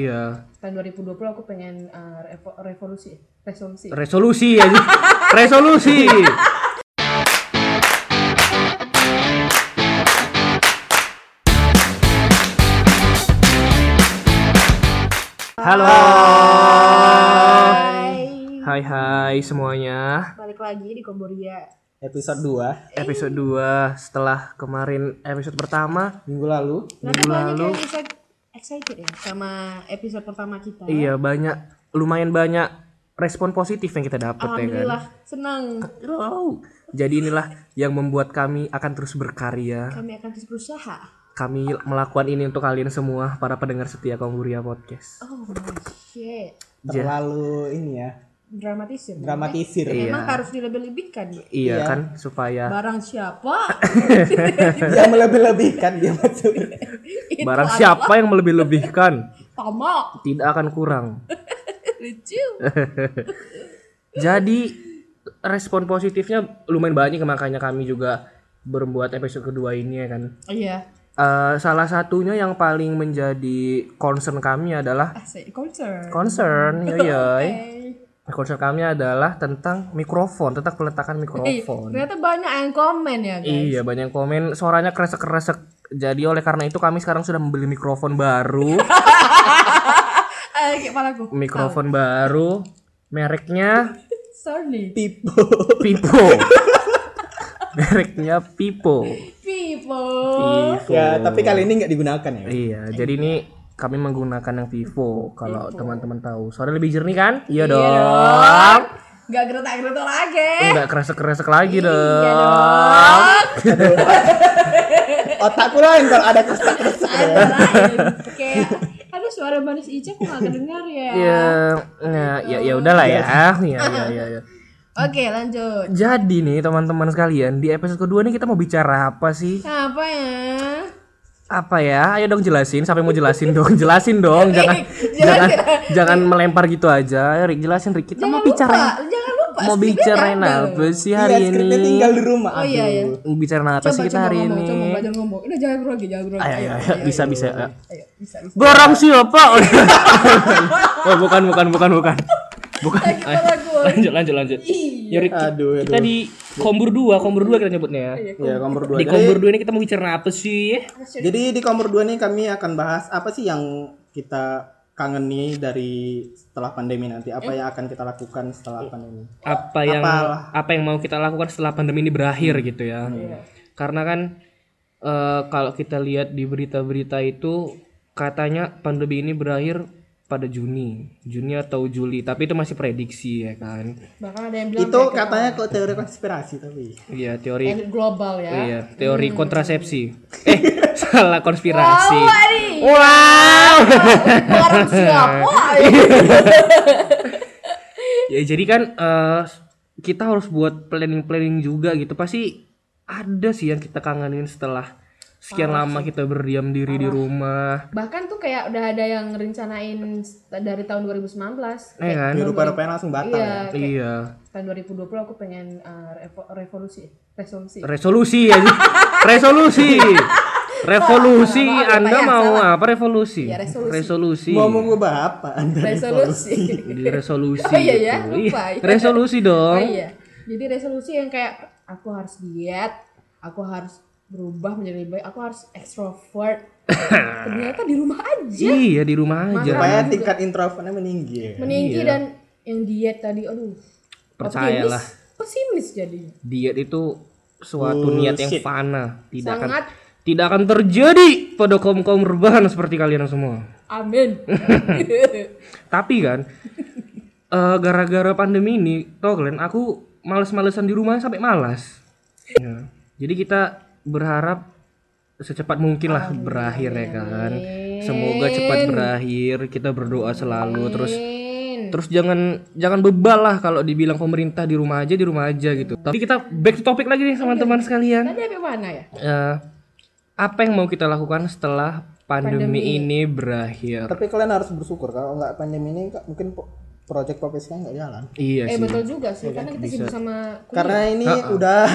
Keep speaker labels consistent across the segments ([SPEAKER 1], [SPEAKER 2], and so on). [SPEAKER 1] Iya.
[SPEAKER 2] Tahun 2020 aku pengen eh, revo- revolusi, resolusi.
[SPEAKER 1] Resolusi aja. Resolusi. Halo.
[SPEAKER 3] Hai,
[SPEAKER 1] Hai hai semuanya.
[SPEAKER 3] balik lagi di Komboria.
[SPEAKER 4] episode 2
[SPEAKER 1] Episode 2 setelah kemarin episode pertama.
[SPEAKER 4] minggu lalu
[SPEAKER 3] Ternyata
[SPEAKER 1] Minggu
[SPEAKER 3] banyak
[SPEAKER 1] lalu.
[SPEAKER 3] yang excited, excited ya sama episode pertama kita.
[SPEAKER 1] Iya, banyak lumayan banyak respon positif yang kita dapat ya kan.
[SPEAKER 3] Alhamdulillah, senang.
[SPEAKER 1] Wow. Jadi inilah yang membuat kami akan terus berkarya.
[SPEAKER 3] Kami akan terus berusaha.
[SPEAKER 1] Kami melakukan ini untuk kalian semua para pendengar setia Komburia Podcast.
[SPEAKER 3] Oh my shit,
[SPEAKER 4] terlalu ini ya
[SPEAKER 3] dramatisir.
[SPEAKER 4] dramatisir
[SPEAKER 3] Emang
[SPEAKER 1] Iya. Iya.
[SPEAKER 3] harus dilebih-lebihkan ya?
[SPEAKER 1] Iya
[SPEAKER 4] Iya.
[SPEAKER 1] kan supaya
[SPEAKER 3] Barang siapa?
[SPEAKER 4] yang melebih-lebihkan dia masuk
[SPEAKER 3] itu
[SPEAKER 1] barang siapa yang melebih-lebihkan
[SPEAKER 3] Tama,
[SPEAKER 1] tidak akan kurang.
[SPEAKER 3] lucu.
[SPEAKER 1] Jadi respon positifnya lumayan banyak makanya kami juga berbuat episode kedua ini ya kan.
[SPEAKER 3] Iya,
[SPEAKER 1] Eh, salah satunya yang paling menjadi concern kami adalah
[SPEAKER 3] asik concern.
[SPEAKER 1] concern yoi.
[SPEAKER 3] Eh,
[SPEAKER 1] Concern kami adalah tentang mikrofon, tentang peletakan
[SPEAKER 3] eh,
[SPEAKER 1] mikrofon.
[SPEAKER 3] ternyata banyak yang komen ya guys.
[SPEAKER 1] Iya banyak yang komen suaranya kresek-kresek. Jadi oleh karena itu kami sekarang sudah membeli mikrofon baru,
[SPEAKER 3] Eh, kayak palaku.
[SPEAKER 1] mikrofon baru, mereknya
[SPEAKER 3] Sorry,
[SPEAKER 4] tipe
[SPEAKER 1] Pipo. mereknya Pipo.
[SPEAKER 3] people.
[SPEAKER 1] Pipo.
[SPEAKER 4] ya tapi kali ini nggak digunakan ya
[SPEAKER 1] Iya, jadi ini kami menggunakan yang Pipo kalau teman-teman tahu. Suara lebih jernih kan? Iya dong.
[SPEAKER 3] Gak geretak-geretak lagi.
[SPEAKER 1] Enggak kresek-kresek lagi
[SPEAKER 3] Iya
[SPEAKER 1] dong.
[SPEAKER 3] dong.
[SPEAKER 4] otakku lain kalau ada kesak-kesak
[SPEAKER 3] Ada lain. Kayak aduh suara manis Ica kok gak kedengar ya.
[SPEAKER 1] Iya, nah, ya ya udahlah ya. Iya, iya, iya, iya.
[SPEAKER 3] Oke, lanjut.
[SPEAKER 1] Jadi nih teman-teman sekalian, di episode kedua nih kita mau bicara apa sih?
[SPEAKER 3] Nah, apa ya?
[SPEAKER 1] Apa ya? Ayo dong jelasin, sampai mau jelasin dong, jelasin dong. Jangan jangan jangan melempar gitu aja. Rick jelasin Rick, kita mau
[SPEAKER 3] Jangan
[SPEAKER 1] bicara
[SPEAKER 3] lupa, jangan lupa.
[SPEAKER 1] mau
[SPEAKER 3] skripnya
[SPEAKER 1] bicarain
[SPEAKER 3] ada loh.
[SPEAKER 1] apa sih
[SPEAKER 4] iya
[SPEAKER 1] hari
[SPEAKER 4] skripnya
[SPEAKER 1] ini?
[SPEAKER 4] tinggal di rumah
[SPEAKER 3] Oh iya iya.
[SPEAKER 1] Mau Bicara apa
[SPEAKER 3] Coba
[SPEAKER 1] sih kita
[SPEAKER 3] coba
[SPEAKER 1] hari
[SPEAKER 3] ngomong,
[SPEAKER 1] ini?
[SPEAKER 3] coba belajar ngomong. Udah jangan grogi, jangan grogi.
[SPEAKER 1] Ayo, ayo, ayo, bisa bisa. ayo.
[SPEAKER 3] Ayo, bisa. bisa.
[SPEAKER 1] Barang siapa? oh, bukan bukan bukan bukan. Bukan. Ayo,
[SPEAKER 3] Lagi kepala gue.
[SPEAKER 1] Lanjut lanjut lanjut.
[SPEAKER 3] Iya.
[SPEAKER 1] Ya, Rick,
[SPEAKER 4] aduh
[SPEAKER 1] kita
[SPEAKER 4] aduh
[SPEAKER 1] di kombur 2, kombur 2 kita nyebutnya
[SPEAKER 3] Iya.
[SPEAKER 1] ya.
[SPEAKER 4] ya kompor dua
[SPEAKER 1] Di
[SPEAKER 4] jadi,
[SPEAKER 1] kombur 2 ini kita mau bicara apa sih?
[SPEAKER 4] jadi di kompor dua nih kami akan bahas apa sih yang kita kangeni dari setelah pandemi nanti apa yang akan kita lakukan
[SPEAKER 1] Iya.
[SPEAKER 4] setelah pandemi
[SPEAKER 1] apa yang
[SPEAKER 4] Apalah.
[SPEAKER 1] apa yang mau kita lakukan setelah pandemi ini berakhir gitu ya. Karena kan eh, kalau kita lihat di berita-berita itu katanya pandemi ini berakhir pada Juni, Juni atau Juli, tapi itu masih prediksi ya kan.
[SPEAKER 3] Bahkan ada yang bilang
[SPEAKER 4] itu katanya kalau teori konspirasi tapi
[SPEAKER 1] Iya, teori
[SPEAKER 3] elit global ya.
[SPEAKER 1] iya, teori kontrasepsi. Eh, salah konspirasi.
[SPEAKER 3] Wah,
[SPEAKER 1] Wow.
[SPEAKER 3] Barang siapa?
[SPEAKER 1] ya jadi kan eh, kita harus buat planning-planning juga gitu. Pasti ada sih yang kita kangenin setelah sekian lama kita berdiam diri di rumah.
[SPEAKER 3] Bahkan tuh kayak udah ada yang rencanain dari tahun 2019.
[SPEAKER 1] Iya kan?
[SPEAKER 4] di rupa-rupanya langsung batal ya
[SPEAKER 3] Iya, kayak
[SPEAKER 1] Iya.
[SPEAKER 3] tahun 2020 aku pengen eh, revo- revolusi, resolusi.
[SPEAKER 1] Resolusi aja. resolusi. Revolusi Anda mau apa revolusi?
[SPEAKER 3] Ya, resolusi.
[SPEAKER 1] resolusi.
[SPEAKER 4] mau mengubah apa anda
[SPEAKER 3] resolusi.
[SPEAKER 1] Di resolusi.
[SPEAKER 3] Oh, iya ya,
[SPEAKER 1] gitu.
[SPEAKER 3] lupa.
[SPEAKER 1] Iya, Resolusi
[SPEAKER 3] Oh
[SPEAKER 1] dong.
[SPEAKER 3] iya. Jadi resolusi yang kayak aku harus diet, aku harus berubah menjadi lebih baik, aku harus extrovert. Ternyata di rumah aja
[SPEAKER 1] Iya, di rumah aja.
[SPEAKER 4] supaya tingkat introvertnya meninggi
[SPEAKER 1] Iya.
[SPEAKER 4] ya.
[SPEAKER 3] meninggi dan yang diet tadi aduh.
[SPEAKER 1] Percayalah.
[SPEAKER 3] Optimis, pesimis jadinya.
[SPEAKER 1] Diet itu suatu niat yang
[SPEAKER 4] Bullshit.
[SPEAKER 1] fana, tidak akan
[SPEAKER 3] Sangat
[SPEAKER 1] tidak akan terjadi pada kaum-kaum rebahan seperti kalian semua.
[SPEAKER 3] amin.
[SPEAKER 1] Tapi kan eh, gara-gara pandemi ini, tau kalian aku males-malesan di rumah sampai malas. Ya. Jadi kita berharap secepat mungkin lah berakhir ya kan. Semoga cepat berakhir. Kita berdoa selalu terus
[SPEAKER 3] Amin.
[SPEAKER 1] terus jangan jangan bebal lah kalau dibilang pemerintah di rumah aja di rumah aja gitu. Tapi kita back to topic lagi nih sama
[SPEAKER 3] Iya.
[SPEAKER 1] teman sekalian.
[SPEAKER 3] Tadi apa mana ya?
[SPEAKER 1] Eh, apa yang mau kita lakukan setelah pandemi ini berakhir?
[SPEAKER 4] Tapi kalian harus bersyukur kalau nggak pandemi ini nggak- mungkin po- project profesional nggak jalan.
[SPEAKER 1] Iya
[SPEAKER 3] Eh
[SPEAKER 1] sih.
[SPEAKER 3] betul juga sih, karena kita sibuk sama kuliah.
[SPEAKER 4] Karena ini udah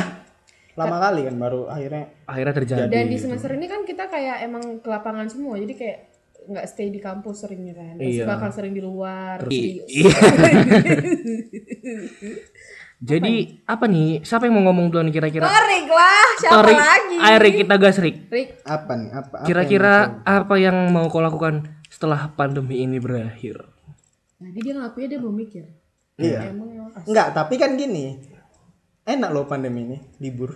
[SPEAKER 4] lama kali kan baru akhirnya
[SPEAKER 1] Akhirnya terjadi.
[SPEAKER 3] dan di semester ini kan kita kayak emang ke lapangan semua jadi kayak nggak stay di kampus seringnya kan pasti
[SPEAKER 1] Iya.
[SPEAKER 3] bakal sering di luar
[SPEAKER 1] I-
[SPEAKER 3] di-
[SPEAKER 1] iya. Jadi apa nih? Siapa yang mau ngomong duluan kira-kira?
[SPEAKER 3] Torik lah Ah, siapa
[SPEAKER 1] Atau Rick?
[SPEAKER 3] lagi
[SPEAKER 1] Ayo, Rick, kita gas Rick.
[SPEAKER 3] Rick
[SPEAKER 4] Apa nih? Apa? apa yang
[SPEAKER 1] Kira-kira apa yang mau kau lakukan setelah pandemi ini berakhir?
[SPEAKER 3] tadi dia ngakuinnya dia belum mikir
[SPEAKER 4] muncul? Iya.
[SPEAKER 3] emang emang pas
[SPEAKER 4] Enggak, tapi kan gini. Enak loh pandemi ini, libur.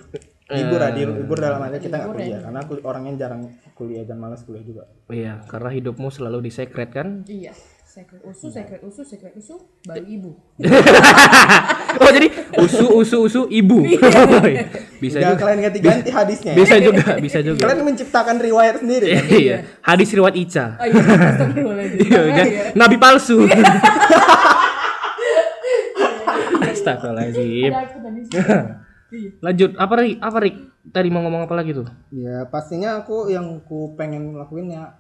[SPEAKER 4] Libur
[SPEAKER 1] Eh.
[SPEAKER 4] adil, libur dalam arti kita nggak kuliah karena aku orangnya jarang kuliah dan malas kuliah juga.
[SPEAKER 1] Iya, karena hidupmu selalu disekret kan?
[SPEAKER 3] iya sekret usus
[SPEAKER 1] Iya.
[SPEAKER 3] sekret usus sekret usus baru ibu
[SPEAKER 1] Oh jadi usu usu usu ibu.
[SPEAKER 3] Iya.
[SPEAKER 1] bisa
[SPEAKER 4] Jangan
[SPEAKER 1] juga.
[SPEAKER 4] kalian ganti-ganti hadisnya. ya.
[SPEAKER 1] Bisa juga, bisa juga.
[SPEAKER 4] Kalian menciptakan riwayat sendiri. kan?
[SPEAKER 1] Iya. Hadis riwayat Ica.
[SPEAKER 3] oh iya astagfirullahaladzim
[SPEAKER 1] Iya, kan? Nabi palsu. Astagfirullahaladzim.
[SPEAKER 3] Aku tadi
[SPEAKER 1] Lanjut, apa Rik? Apa Rik? Tadi mau ngomong apa lagi tuh?
[SPEAKER 4] Ya pastinya aku yang ku pengen lakuin ya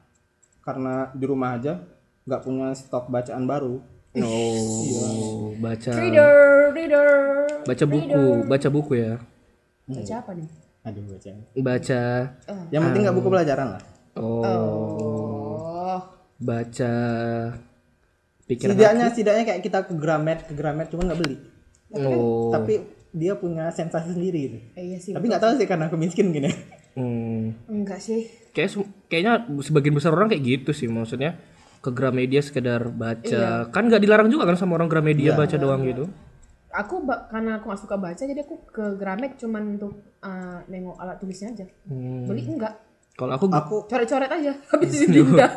[SPEAKER 4] karena di rumah aja nggak punya stok bacaan baru. Iya.
[SPEAKER 1] Oh, baca
[SPEAKER 3] reader reader
[SPEAKER 1] baca buku, baca buku ya.
[SPEAKER 3] baca apa nih
[SPEAKER 4] Aduh bacaan.
[SPEAKER 1] Baca
[SPEAKER 4] Yang penting nggak buku pelajaran lah.
[SPEAKER 1] oh,
[SPEAKER 3] oh
[SPEAKER 1] baca pikiran.
[SPEAKER 4] Setidaknya setidaknya kayak kita ke Gramet, ke Gramet cuma nggak beli.
[SPEAKER 1] Oh.
[SPEAKER 4] Tapi dia punya sensasi sendiri gitu.
[SPEAKER 3] eh, iya sih
[SPEAKER 4] Tapi nggak tahu sih karena aku miskin gini.
[SPEAKER 1] Hmm.
[SPEAKER 3] enggak sih
[SPEAKER 1] kayak sem- kayaknya sebagian besar orang kayak gitu sih maksudnya ke Gramedia sekedar baca kan nggak dilarang juga kan sama orang Gramedia baca doang gitu
[SPEAKER 3] aku ba- karena aku gak suka baca jadi aku ke Gramet cuman untuk eh, nengok alat tulisnya aja
[SPEAKER 1] Hmm.
[SPEAKER 3] beli enggak
[SPEAKER 1] kalau aku
[SPEAKER 4] Aku
[SPEAKER 3] coret-coret aja habis itu pindah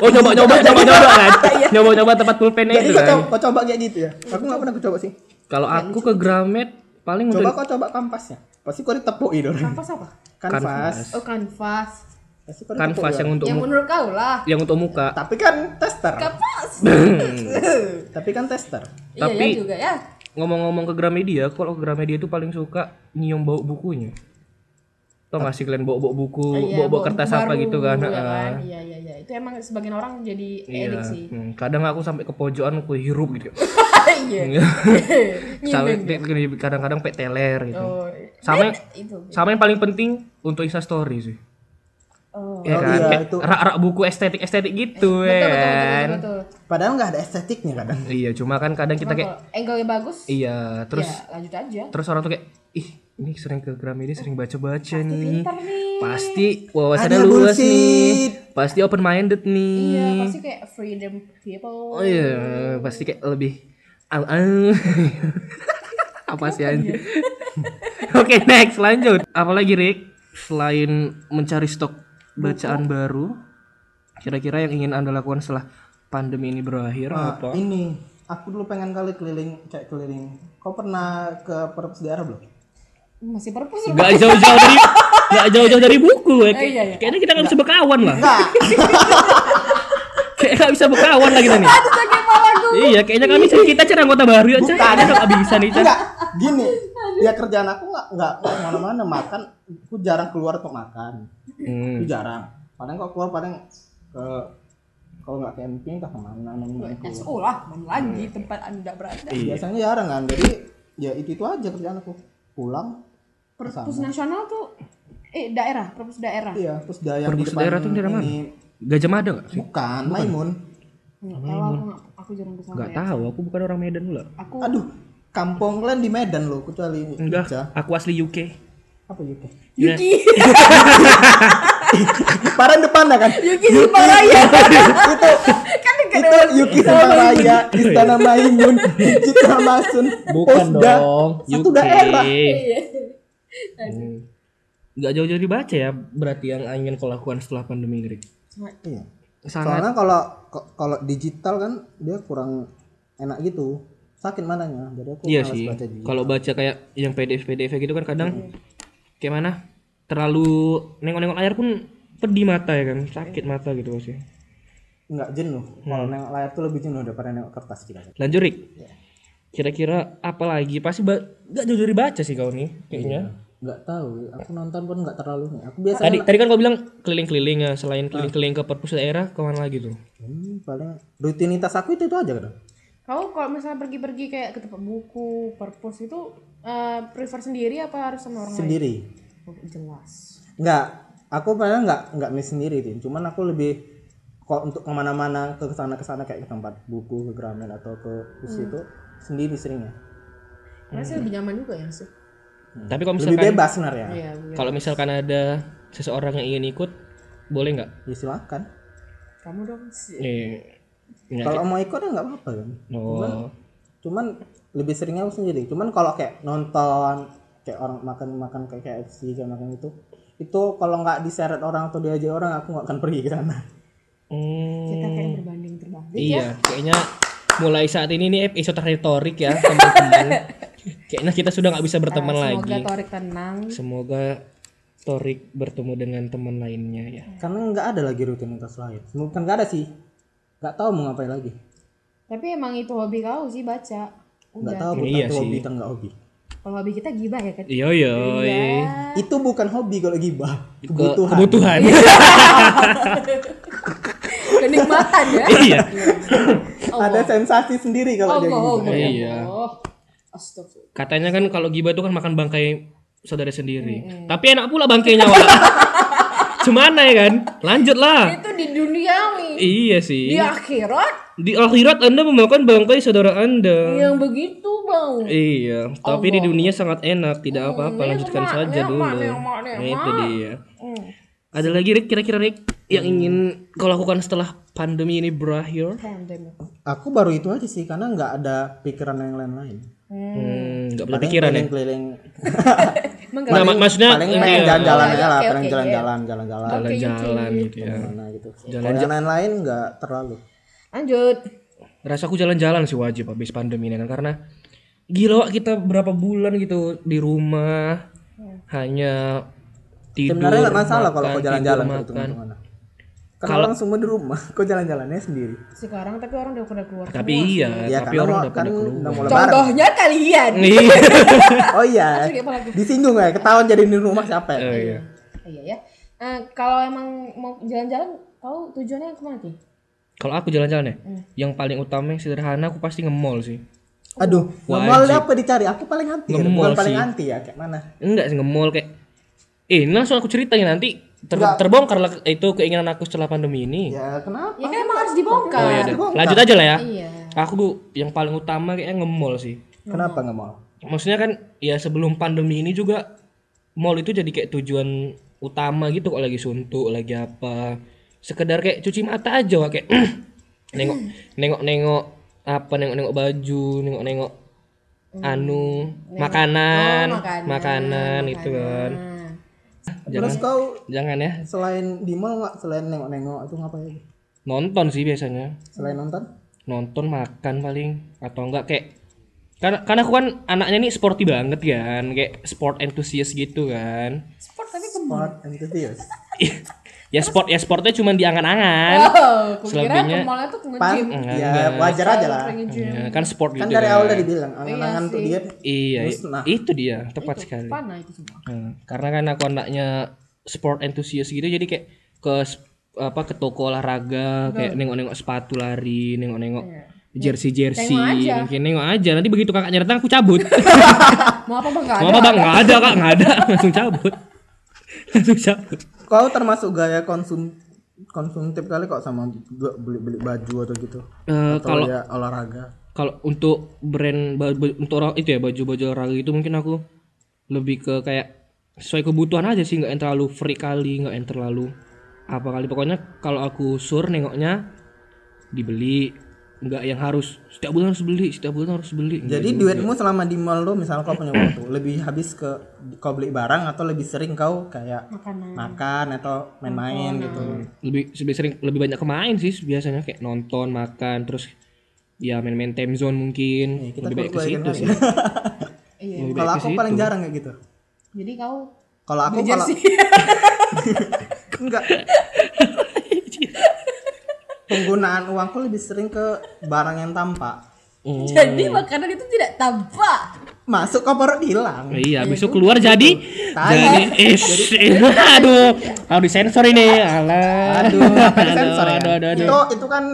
[SPEAKER 1] oh nyoba nyoba nyoba nyoba kan
[SPEAKER 3] Iya.
[SPEAKER 1] nyoba nyoba tempat pulpen
[SPEAKER 4] jadi
[SPEAKER 1] itu kan
[SPEAKER 4] kau coba, kau coba kayak gitu ya. Aku nggak pernah coba sih.
[SPEAKER 1] kalau aku ke Gramet paling
[SPEAKER 4] Coba
[SPEAKER 1] untuk kan
[SPEAKER 4] kau coba kampasnya. Pasti kau ditepuk itu.
[SPEAKER 3] kanvas apa
[SPEAKER 4] Kanvas.
[SPEAKER 3] oh kanvas
[SPEAKER 4] Pasti kau ditepuk.
[SPEAKER 1] kanvas yang untuk
[SPEAKER 3] yang
[SPEAKER 1] mu-
[SPEAKER 3] menurut kau lah
[SPEAKER 1] yang untuk muka
[SPEAKER 4] Tapi kan tester.
[SPEAKER 3] kanvas
[SPEAKER 4] Tapi kan tester.
[SPEAKER 3] iya ya
[SPEAKER 1] Tapi-
[SPEAKER 3] juga ya
[SPEAKER 1] ngomong-ngomong ke Gramedia kalau ke Gramedia itu paling suka nyium bau bukunya tau nggak sih kalian bawa bawa buku
[SPEAKER 3] Iya,
[SPEAKER 1] bawa bawa
[SPEAKER 3] buku
[SPEAKER 1] kertas
[SPEAKER 3] baru,
[SPEAKER 1] apa gitu kan,
[SPEAKER 3] ya
[SPEAKER 1] Heeh.
[SPEAKER 3] kan? iya iya iya itu emang sebagian orang jadi
[SPEAKER 1] Iya.
[SPEAKER 3] edik sih
[SPEAKER 1] Hmm, kadang aku sampai ke pojokan aku hirup gitu
[SPEAKER 3] iya Gitu.
[SPEAKER 1] sampai kadang-kadang peteler gitu
[SPEAKER 3] oh
[SPEAKER 1] sama
[SPEAKER 3] itu
[SPEAKER 1] sama yang paling penting untuk Insta story sih
[SPEAKER 3] oh
[SPEAKER 1] ya
[SPEAKER 4] Oh
[SPEAKER 1] kan
[SPEAKER 4] iya,
[SPEAKER 1] Kayak
[SPEAKER 4] itu.
[SPEAKER 1] rak-rak buku estetik estetik gitu ya
[SPEAKER 3] betul, betul, betul,
[SPEAKER 1] kan
[SPEAKER 3] betul, betul.
[SPEAKER 4] Padahal nggak ada estetiknya kadang.
[SPEAKER 1] iya cuma kan kadang kita kayak
[SPEAKER 3] Kalau angle-nya bagus
[SPEAKER 1] iya terus Hmm.
[SPEAKER 3] ya lanjut aja
[SPEAKER 1] terus orang tuh kayak ih ini sering ke Gramedia sering baca-baca nih
[SPEAKER 3] pintar nih
[SPEAKER 1] pasti wawasannya
[SPEAKER 4] Ada
[SPEAKER 1] luas
[SPEAKER 4] bullshit.
[SPEAKER 1] nih pasti open minded nih
[SPEAKER 3] Iya, pasti kayak freedom people.
[SPEAKER 1] oh iya pasti kayak lebih au au apa sih
[SPEAKER 3] Iya.
[SPEAKER 1] anjir oke next lanjut apalagi Rick selain mencari stok bacaan baru kira-kira yang ingin anda lakukan setelah pandemi ini berakhir
[SPEAKER 4] Nah,
[SPEAKER 1] apa
[SPEAKER 4] ini aku dulu pengen kali keliling kayak keliling. Kau pernah ke perpus daerah belum?
[SPEAKER 3] Masih perpus lu.
[SPEAKER 1] nggak jauh-jauh dari nggak jauh-jauh dari buku ya.
[SPEAKER 3] Eh, iya, iya.
[SPEAKER 1] kayaknya kita nggak bisa berkawan lah
[SPEAKER 4] Enggak.
[SPEAKER 1] kayak nggak bisa berkawan lah kita nih
[SPEAKER 3] Aduh, sakit kepala gua.
[SPEAKER 1] iya kayaknya kami kita cari anggota baru ya cah ini nggak bisa nih cah
[SPEAKER 4] Enggak, gini. Ya kerjaan aku nggak nggak kemana-mana makan. Aku jarang keluar untuk makan.
[SPEAKER 1] Hmm.
[SPEAKER 4] Aku jarang. Paling kok keluar paling ke kalau nggak camping ke kemana
[SPEAKER 1] Iya,
[SPEAKER 4] nonton
[SPEAKER 3] Ya
[SPEAKER 4] keluar.
[SPEAKER 3] sekolah, mana lagi tempat Anda berada.
[SPEAKER 4] Biasanya jarang kan. Jadi ya itu itu aja kerjaan aku. Pulang.
[SPEAKER 3] Perpus nasional tuh eh daerah, perpus daerah.
[SPEAKER 4] Iya, terus daya yang
[SPEAKER 1] Perpus daerah tuh daerah mana? Gajah Mada nggak sih
[SPEAKER 4] Bukan, Maimun.
[SPEAKER 3] Nggak tahu aku nggak- aku jarang ke sana
[SPEAKER 1] nggak
[SPEAKER 3] ya.
[SPEAKER 1] tahu aku bukan orang Medan pula
[SPEAKER 3] Aku
[SPEAKER 4] Aduh, kampung kalian di Medan loh, kecuali Jogja.
[SPEAKER 1] Enggak, aku asli UK.
[SPEAKER 4] Apa itu?
[SPEAKER 1] Iya.
[SPEAKER 3] Yuki,
[SPEAKER 4] Paran depan dah kan?
[SPEAKER 3] Yuki Subaraya.
[SPEAKER 4] itu
[SPEAKER 3] Kan dekat
[SPEAKER 4] itu Yuki Samaraya, Istana Maimun, Citra Masun,
[SPEAKER 1] Bukan
[SPEAKER 4] Posda.
[SPEAKER 1] dong,
[SPEAKER 4] Satu
[SPEAKER 1] UK.
[SPEAKER 4] daerah.
[SPEAKER 1] Hmm. Nggak jauh-jauh dibaca ya, berarti yang ingin kau lakukan setelah pandemi ini. Rick.
[SPEAKER 4] Iya.
[SPEAKER 1] Sangat
[SPEAKER 4] Soalnya kalau ko- kalau digital kan dia kurang enak gitu. Sakit mananya. Jadi aku
[SPEAKER 1] iya
[SPEAKER 4] malas
[SPEAKER 1] sih.
[SPEAKER 4] baca Hmm. di-
[SPEAKER 1] Kalau baca kayak yang PDF PDF gitu kan kadang kayak mana? Terlalu nengok-nengok layar pun pedih mata ya kan, sakit mata gitu pasti.
[SPEAKER 4] Nggak jenuh. Kalau
[SPEAKER 1] Hmm.
[SPEAKER 4] nengok layar tuh lebih jenuh daripada nengok kertas kira
[SPEAKER 1] Lanjut Rick.
[SPEAKER 4] Iya.
[SPEAKER 1] Kira-kira apa lagi? Pasti ba- nggak jauh-jauh dibaca sih kau nih kayaknya.
[SPEAKER 4] Iya. Nggak tahu, aku nonton pun nggak terlalu. Aku biasa
[SPEAKER 1] Tadi tadi kan kau bilang keliling-keliling ya,
[SPEAKER 4] Ah.
[SPEAKER 1] selain keliling-keliling ke perpus daerah kemana lagi tuh?
[SPEAKER 4] Hmm, paling rutinitas aku itu itu aja kan.
[SPEAKER 3] Kau kalau misalnya pergi-pergi kayak ke tempat buku, perpus itu eh, prefer sendiri apa harus sama orang lain?
[SPEAKER 4] Sendiri.
[SPEAKER 3] Oh, jelas.
[SPEAKER 4] Nggak, aku padahal nggak nggak milih sendiri Tin. Cuman aku lebih kok untuk kemana-mana ke sana ke sana kayak ke tempat buku ke Gramet atau ke situ itu sendiri seringnya Hmm.
[SPEAKER 3] Karena sih lebih nyaman juga ya sih.
[SPEAKER 1] Tapi kalau
[SPEAKER 4] lebih
[SPEAKER 1] misalkan
[SPEAKER 4] bebas sebenarnya
[SPEAKER 3] Iya, iya.
[SPEAKER 1] kalau misalkan ada seseorang yang ingin ikut, boleh nggak?
[SPEAKER 4] ya silakan
[SPEAKER 3] Kamu dong sih.
[SPEAKER 4] Iya.
[SPEAKER 1] Eh, nggak
[SPEAKER 4] kalau mau ikut ya nggak apa-apa kan
[SPEAKER 1] Oh,
[SPEAKER 4] cuman lebih seringnya aku sendiri cuman kalau kayak nonton kayak orang makan makan kayak KFC kayak makan itu itu kalau nggak diseret orang atau diajak orang aku nggak akan pergi ke sana
[SPEAKER 1] Hmm,
[SPEAKER 3] Kita kayak berbanding terbalik ya.
[SPEAKER 1] iya, kayaknya mulai saat ini nih episode retorik ya teman-teman. kayaknya kita sudah nggak bisa berteman
[SPEAKER 3] Eh, Semoga
[SPEAKER 1] lagi.
[SPEAKER 3] Torik tenang.
[SPEAKER 1] Semoga Torik bertemu dengan teman lainnya ya.
[SPEAKER 4] karena nggak ada lagi rutinitas lain bukan nggak ada sih nggak tahu mau ngapain lagi
[SPEAKER 3] Tapi emang itu hobi kau sih baca.
[SPEAKER 4] nggak
[SPEAKER 3] Udah.
[SPEAKER 4] tahu bukan
[SPEAKER 1] Iya
[SPEAKER 4] itu
[SPEAKER 1] sih.
[SPEAKER 4] hobi atau nggak hobi
[SPEAKER 3] Kalau hobi kita gibah ya kan.
[SPEAKER 1] Yo yo.
[SPEAKER 4] itu bukan hobi kalau gibah Gitu.
[SPEAKER 1] Kebutuhan. Iya.
[SPEAKER 4] kebutuhan
[SPEAKER 3] Kenikmatan ya.
[SPEAKER 1] iya.
[SPEAKER 4] ada sensasi sendiri kalau
[SPEAKER 3] Allah,
[SPEAKER 4] dia gibah
[SPEAKER 3] Allah,
[SPEAKER 1] Iya.
[SPEAKER 3] Allah. Astagfirullah.
[SPEAKER 1] Katanya kan kalau gibah itu kan makan bangkai saudara sendiri. Tapi enak pula bangkainya wala. Cemana ya kan? Lanjutlah.
[SPEAKER 3] Itu di duniawi.
[SPEAKER 1] Iya sih.
[SPEAKER 3] Di akhirat
[SPEAKER 1] Di akhirat Anda memakan bangkai saudara Anda.
[SPEAKER 3] yang begitu bang.
[SPEAKER 1] Iya, tapi di dunia sangat enak, tidak apa-apa, lanjutkan saja dulu. Nah, itu dia. Ada lagi Rick kira-kira Rick yang ingin kau lakukan setelah pandemi ini berakhir?
[SPEAKER 3] Pandemi.
[SPEAKER 4] aku baru itu aja sih karena nggak ada pikiran yang lain-lain
[SPEAKER 1] Hmm, nggak punya
[SPEAKER 4] Paling
[SPEAKER 1] pikiran ya.
[SPEAKER 4] keliling-keliling
[SPEAKER 1] Nah, mak- maksudnya
[SPEAKER 4] paling pengen jalan-jalan aja lah pengen jalan-jalan jalan-jalan
[SPEAKER 1] jalan-jalan gitu ya.
[SPEAKER 4] mana gitu kalau yang lain-lain nggak terlalu
[SPEAKER 3] Lanjut.
[SPEAKER 1] Rasaku jalan-jalan sih wajib habis pandemi ini kan karena gila Wak, kita berapa bulan gitu di rumah hanya tidur.
[SPEAKER 4] sebenarnya nggak masalah kalau kau
[SPEAKER 1] makan,
[SPEAKER 4] jalan-jalan
[SPEAKER 1] tidur,
[SPEAKER 4] gitu
[SPEAKER 1] makan.
[SPEAKER 4] kemana-mana karena orang semua di rumah kau jalan-jalannya sendiri
[SPEAKER 3] Sekarang tapi orang udah pada keluar.
[SPEAKER 1] Tapi iya,
[SPEAKER 4] ya
[SPEAKER 1] tapi
[SPEAKER 4] karena
[SPEAKER 1] orang
[SPEAKER 4] mau,
[SPEAKER 1] udah
[SPEAKER 4] kan
[SPEAKER 1] pada keluar.
[SPEAKER 4] udah mau lebaran
[SPEAKER 3] Contohnya kalian.
[SPEAKER 1] Iya.
[SPEAKER 4] oh iya disinggung ya ketahuan jadi di rumah siapa ya
[SPEAKER 1] Oh, iya.
[SPEAKER 3] Iya ya. Nah, kalau emang mau jalan-jalan, kau tujuannya kemana sih?
[SPEAKER 1] Kalau aku jalan-jalan ya, yang paling utama yang sederhana aku pasti nge-mall sih.
[SPEAKER 4] aduh ngemol apa dicari aku paling anti ya.
[SPEAKER 1] Ngemol
[SPEAKER 4] bukan paling
[SPEAKER 1] sih.
[SPEAKER 4] anti ya kayak mana
[SPEAKER 1] Enggak sih nge-mall kayak Eh, ini langsung aku ceritain nanti ter terbongkar lah itu keinginan aku setelah pandemi ini.
[SPEAKER 4] ya kenapa
[SPEAKER 3] Ya kan emang harus dibongkar.
[SPEAKER 1] Oh, ya udah.
[SPEAKER 4] Terbongkar.
[SPEAKER 1] Lanjut aja lah ya.
[SPEAKER 3] Iya.
[SPEAKER 1] Aku yang paling utama kayaknya nge-mall sih.
[SPEAKER 4] kenapa ngemol
[SPEAKER 1] Maksudnya kan ya sebelum pandemi ini juga mall itu jadi kayak tujuan utama gitu kalau lagi suntuk, lagi apa. Sekedar kayak cuci mata aja Wak. kayak nengok nengok nengok apa nengok nengok baju, nengok nengok anu makanan,
[SPEAKER 3] Oh, makanan,
[SPEAKER 1] makanan, gitu kan.
[SPEAKER 3] Nah,
[SPEAKER 1] Iya.
[SPEAKER 4] terus kau
[SPEAKER 1] Jangan ya.
[SPEAKER 4] selain di mall nggak selain nengok-nengok itu ngapain
[SPEAKER 1] Nonton sih biasanya.
[SPEAKER 4] selain nonton
[SPEAKER 1] nonton makan paling atau enggak kayak karena karena aku kan anaknya nih sporty banget kan kayak sport enthusiast gitu kan
[SPEAKER 3] sport tapi kemana?
[SPEAKER 4] sport enthusiast
[SPEAKER 1] ya sport ya sportnya cuma diangan-angan
[SPEAKER 3] Oh, kukira
[SPEAKER 1] Selebihnya-
[SPEAKER 3] ke mallnya tuh ke
[SPEAKER 1] Iya.
[SPEAKER 4] pan
[SPEAKER 3] nge-gym.
[SPEAKER 4] ya wajar aja lah
[SPEAKER 3] Ke nge-gym.
[SPEAKER 1] Ya, kan sport
[SPEAKER 4] kan
[SPEAKER 1] gitu
[SPEAKER 4] dari
[SPEAKER 1] kan.
[SPEAKER 4] awal nah. udah dibilang angan-angan untuk diet
[SPEAKER 1] iya i-
[SPEAKER 4] Musnah.
[SPEAKER 1] itu dia tepat sekali
[SPEAKER 3] Mana itu semua?
[SPEAKER 1] Hmm, karena kan aku anaknya sport enthusiast gitu jadi kayak ke s- apa ke toko olahraga kayak nengok-nengok sepatu lari nengok-nengok
[SPEAKER 4] Iya.
[SPEAKER 1] jersey jersey mungkin nengok aja nanti begitu kakaknya datang aku cabut
[SPEAKER 3] Mau apa bang? Gak
[SPEAKER 1] Mau
[SPEAKER 3] ada.
[SPEAKER 1] apa bang? Nggak ada kak, nggak ada. Langsung cabut. Langsung cabut.
[SPEAKER 4] kau termasuk gaya konsum konsumtif kali kok sama beli beli baju atau gitu
[SPEAKER 1] Eh,
[SPEAKER 4] atau
[SPEAKER 1] kalau
[SPEAKER 4] ya olahraga
[SPEAKER 1] kalau untuk brand ba- ba- untuk orang itu ya baju-baju olahraga itu mungkin aku lebih ke kayak sesuai kebutuhan aja sih nggak yang terlalu freak kali nggak yang terlalu apa kali pokoknya kalau aku sur nengoknya dibeli nggak yang harus setiap bulan harus beli setiap bulan harus beli Nggak
[SPEAKER 4] jadi duitmu
[SPEAKER 1] iya.
[SPEAKER 4] selama di mall lo misal kau punya waktu lebih habis ke kau beli barang atau lebih sering kau kayak
[SPEAKER 1] Hmm.
[SPEAKER 3] Makanan.
[SPEAKER 4] makan atau main-main gitu
[SPEAKER 1] lebih lebih sering lebih banyak ke main sih biasanya kayak nonton makan terus ya main-main time zone mungkin
[SPEAKER 4] Iya, kita
[SPEAKER 1] lebih baik ke
[SPEAKER 4] keluarin
[SPEAKER 1] situ
[SPEAKER 4] lagi. Iya.
[SPEAKER 1] sih Lebih baik
[SPEAKER 4] kalau
[SPEAKER 1] ke
[SPEAKER 4] aku
[SPEAKER 1] situ.
[SPEAKER 4] paling jarang kayak gitu
[SPEAKER 3] Jadi kau
[SPEAKER 4] kalau aku kalau enggak penggunaan uangku lebih sering ke barang yang tampak
[SPEAKER 1] Hmm.
[SPEAKER 3] Jadi makanan itu tidak tampak.
[SPEAKER 4] masuk kau baru hilang
[SPEAKER 1] Nah, Iya, besok keluar jadi
[SPEAKER 4] Tai.
[SPEAKER 1] jadi is, is- aduh, harus disensor ini. Alah.
[SPEAKER 4] aduh apa di sensor ya
[SPEAKER 1] aduh, aduh, aduh.
[SPEAKER 4] itu itu kan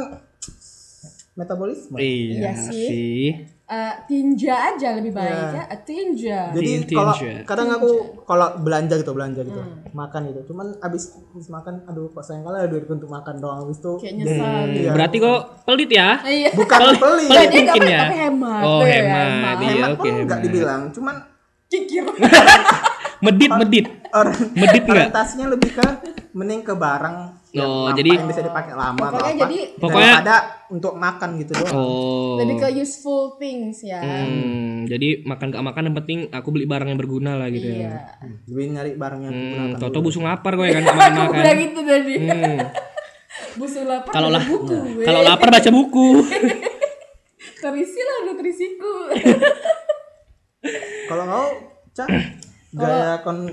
[SPEAKER 4] metabolisme
[SPEAKER 1] Iya,
[SPEAKER 3] sih.
[SPEAKER 1] sih.
[SPEAKER 3] eh, tinja aja lebih baik
[SPEAKER 4] Iya.
[SPEAKER 3] ya eh, tinja
[SPEAKER 1] Ah,
[SPEAKER 4] Jadi
[SPEAKER 1] Di
[SPEAKER 4] kalau
[SPEAKER 1] Indonesia.
[SPEAKER 4] kadang aku kalau belanja gitu belanja gitu makan gitu. Cuman abis, abis makan aduh kok sayang kali ada duit untuk makan doang abis itu.
[SPEAKER 1] Hmm.
[SPEAKER 3] kayak nyesel gitu.
[SPEAKER 1] Berarti kok pelit ya?
[SPEAKER 3] Nah, iya
[SPEAKER 4] Bukan pelit.
[SPEAKER 3] Iya,
[SPEAKER 1] pelit
[SPEAKER 3] dia nggak
[SPEAKER 1] mungkin
[SPEAKER 3] pelit,
[SPEAKER 1] ya.
[SPEAKER 3] tapi hemat.
[SPEAKER 1] Oh,
[SPEAKER 3] Iya,
[SPEAKER 1] hemat.
[SPEAKER 3] hemat.
[SPEAKER 1] Iya,
[SPEAKER 4] Hemat
[SPEAKER 1] oke.
[SPEAKER 4] pun nggak
[SPEAKER 1] hemat.
[SPEAKER 4] Ah, dibilang. Cuman
[SPEAKER 3] kikir
[SPEAKER 1] Oh. Medit, medit.
[SPEAKER 4] or-
[SPEAKER 1] Medit nggak?
[SPEAKER 4] orientasinya lebih ke mending ke barang yang
[SPEAKER 1] Oh,
[SPEAKER 4] lama-
[SPEAKER 1] jadi-
[SPEAKER 4] yang bisa dipakai lama atau
[SPEAKER 3] Pokoknya
[SPEAKER 4] apa,
[SPEAKER 3] jadi-
[SPEAKER 1] Pokoknya-
[SPEAKER 4] daripada untuk makan gitu doang.
[SPEAKER 1] Oh.
[SPEAKER 3] lebih ke useful things ya
[SPEAKER 1] Hmm, jadi makan gak makan yang penting aku beli barang yang berguna lah gitu ya.
[SPEAKER 3] iya
[SPEAKER 4] Lebih nyari barang yang
[SPEAKER 1] Hmm,
[SPEAKER 4] digunakan
[SPEAKER 1] Toto
[SPEAKER 4] dulu.
[SPEAKER 1] busung lapar gue kan gak makan
[SPEAKER 3] aku
[SPEAKER 1] makan.
[SPEAKER 3] bilang gitu tadi
[SPEAKER 1] Hmm.
[SPEAKER 3] busu lapar
[SPEAKER 1] Kalau
[SPEAKER 3] baca
[SPEAKER 1] lah, nah,
[SPEAKER 3] buku weh.
[SPEAKER 1] kalau lapar baca buku.
[SPEAKER 3] terisi lah nutrisiku
[SPEAKER 4] Kalau kau, Cak, gaya kon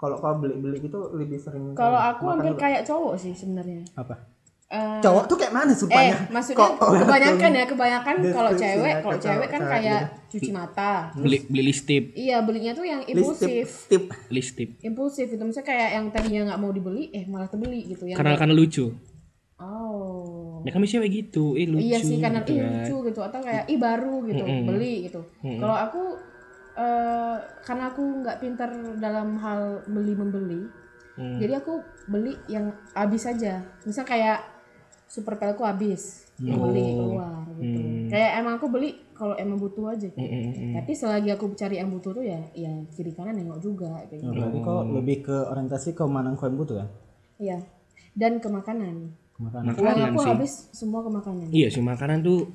[SPEAKER 4] kalau kau beli-beli gitu lebih sering
[SPEAKER 3] kalau aku
[SPEAKER 4] makan
[SPEAKER 3] hampir
[SPEAKER 4] dulu.
[SPEAKER 3] kayak cowok sih sebenarnya
[SPEAKER 4] apa?
[SPEAKER 3] Eh,
[SPEAKER 4] Cowok tuh kayak mana
[SPEAKER 3] Eh,
[SPEAKER 4] supaya?
[SPEAKER 3] maksudnya kebanyakan ya, kebanyakan kalau
[SPEAKER 4] Deskripsi
[SPEAKER 3] cewek,
[SPEAKER 4] ya,
[SPEAKER 3] kalau
[SPEAKER 4] kata- gitu.
[SPEAKER 3] cewek kan
[SPEAKER 4] kata
[SPEAKER 3] kayak cuci mata.
[SPEAKER 1] Beli beli listip,
[SPEAKER 3] Iya, belinya tuh yang
[SPEAKER 4] tip,
[SPEAKER 3] impulsif.
[SPEAKER 4] tip.
[SPEAKER 1] listip.
[SPEAKER 3] Impulsif itu misalnya kayak yang tadinya nggak mau dibeli, eh malah kebeli gitu yang
[SPEAKER 1] Karena karena lucu.
[SPEAKER 3] Oh.
[SPEAKER 1] Ya kami cewek gitu, eh lucu.
[SPEAKER 3] iya sih karena
[SPEAKER 1] gitu
[SPEAKER 3] ih
[SPEAKER 1] kan.
[SPEAKER 3] lucu gitu atau kayak ih baru gitu, beli gitu. Kalau aku eh karena aku nggak pintar dalam hal beli membeli.
[SPEAKER 1] Mm.
[SPEAKER 3] Jadi aku beli yang habis aja. Misal kayak superpelku habis,
[SPEAKER 1] Mm.
[SPEAKER 3] aku beli
[SPEAKER 1] Oh.
[SPEAKER 3] keluar gitu. Kayak emang aku beli kalau emang butuh aja.
[SPEAKER 1] Mm, mm, mm.
[SPEAKER 3] Tapi selagi aku cari yang butuh tuh ya ya kiri kanan nengok juga kayak
[SPEAKER 1] Mm.
[SPEAKER 3] gitu.
[SPEAKER 4] Oh, Berarti kau
[SPEAKER 1] Hmm.
[SPEAKER 4] lebih ke orientasi ke mana kau yang butuh kan?
[SPEAKER 3] Iya. Dan ke makanan.
[SPEAKER 4] Makan.
[SPEAKER 3] Uang
[SPEAKER 1] Makanan
[SPEAKER 3] aku
[SPEAKER 1] sih.
[SPEAKER 3] habis semua ke makanan.
[SPEAKER 1] Iya sih makanan tuh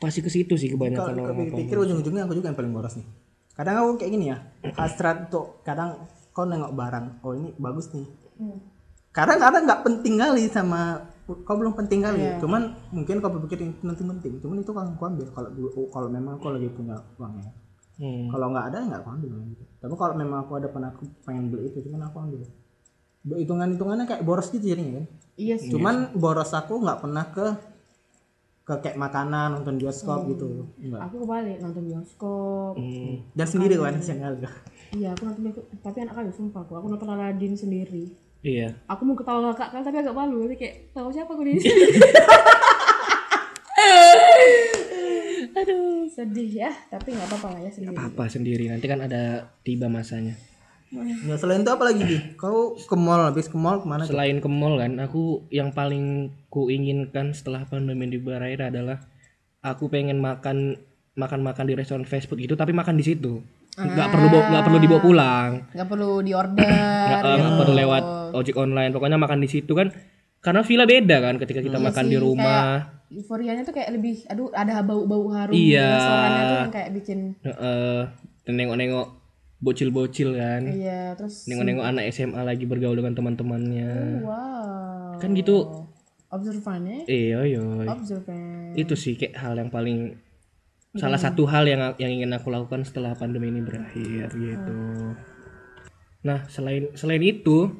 [SPEAKER 1] pasti ke situ sih kebanyakan
[SPEAKER 4] Kalau
[SPEAKER 1] orang.
[SPEAKER 4] pikir ujung-ujungnya aku juga yang paling boros nih. Kadang aku kayak gini ya, hasrat tuh kadang kau nengok barang, oh ini bagus nih. Kadang kadang nggak penting kali sama kau belum penting kali, cuman mungkin kau berpikir ini penting-penting, cuman itu kan kau ambil kalau dulu- kalau memang kau lagi punya uangnya.
[SPEAKER 1] Hmm.
[SPEAKER 4] Kalau nggak ada ya nggak aku ambil. gitu. Tapi kalau memang aku ada pernah aku pengen beli itu, cuman aku ambil. Hitungan-hitungannya kayak boros gitu jadinya kan.
[SPEAKER 3] Iya sih.
[SPEAKER 4] Cuman boros aku nggak pernah ke ke kayak makanan nonton bioskop gitu. Nggak.
[SPEAKER 3] Aku kebalik nonton bioskop.
[SPEAKER 4] Dan sendiri kan siang kali.
[SPEAKER 3] Iya, aku nonton bioskop. Tapi anak kali sumpah aku. Aku nonton Aladdin sendiri.
[SPEAKER 1] Iya.
[SPEAKER 3] Aku mau ketawa kakak kan tapi agak malu. Tapi kayak tahu siapa aku di sini. Aduh, sedih ya. Tapi nggak apa-apa lah ya sendiri.
[SPEAKER 1] Apa sendiri nanti kan ada tiba masanya.
[SPEAKER 4] Ya selain itu apa lagi Bi? Kau ke mall habis ke mall kemana? tuh?
[SPEAKER 1] Selain ke mall kan, aku yang paling ku inginkan setelah pandemi di berakhir adalah aku pengen makan makan-makan di restoran fast food gitu tapi makan di situ. Nggak perlu bawa- nggak perlu dibawa pulang.
[SPEAKER 3] Nggak perlu diorder.
[SPEAKER 1] Nggak eh, nggak perlu lewat ojek online. Pokoknya makan di situ kan karena villa beda kan ketika kita makan di
[SPEAKER 3] Hmm. Iya sih,
[SPEAKER 1] rumah.
[SPEAKER 3] Euforianya tuh kayak lebih, aduh ada bau-bau harum
[SPEAKER 1] Iya.
[SPEAKER 3] restorannya tuh yang kayak bikin,
[SPEAKER 1] Heeh. eh, Dan nengok-nengok bocil-bocil kan.
[SPEAKER 3] iya terus,
[SPEAKER 1] Nengok-nengok anak SMA lagi bergaul dengan teman-temannya.
[SPEAKER 3] wow.
[SPEAKER 1] Kan gitu.
[SPEAKER 3] Observannya,
[SPEAKER 1] Iya, iya.
[SPEAKER 3] observan.
[SPEAKER 1] Itu sih kayak hal yang paling salah satu hal yang yang ingin aku lakukan setelah pandemi ini berakhir gitu. Nah, selain selain itu,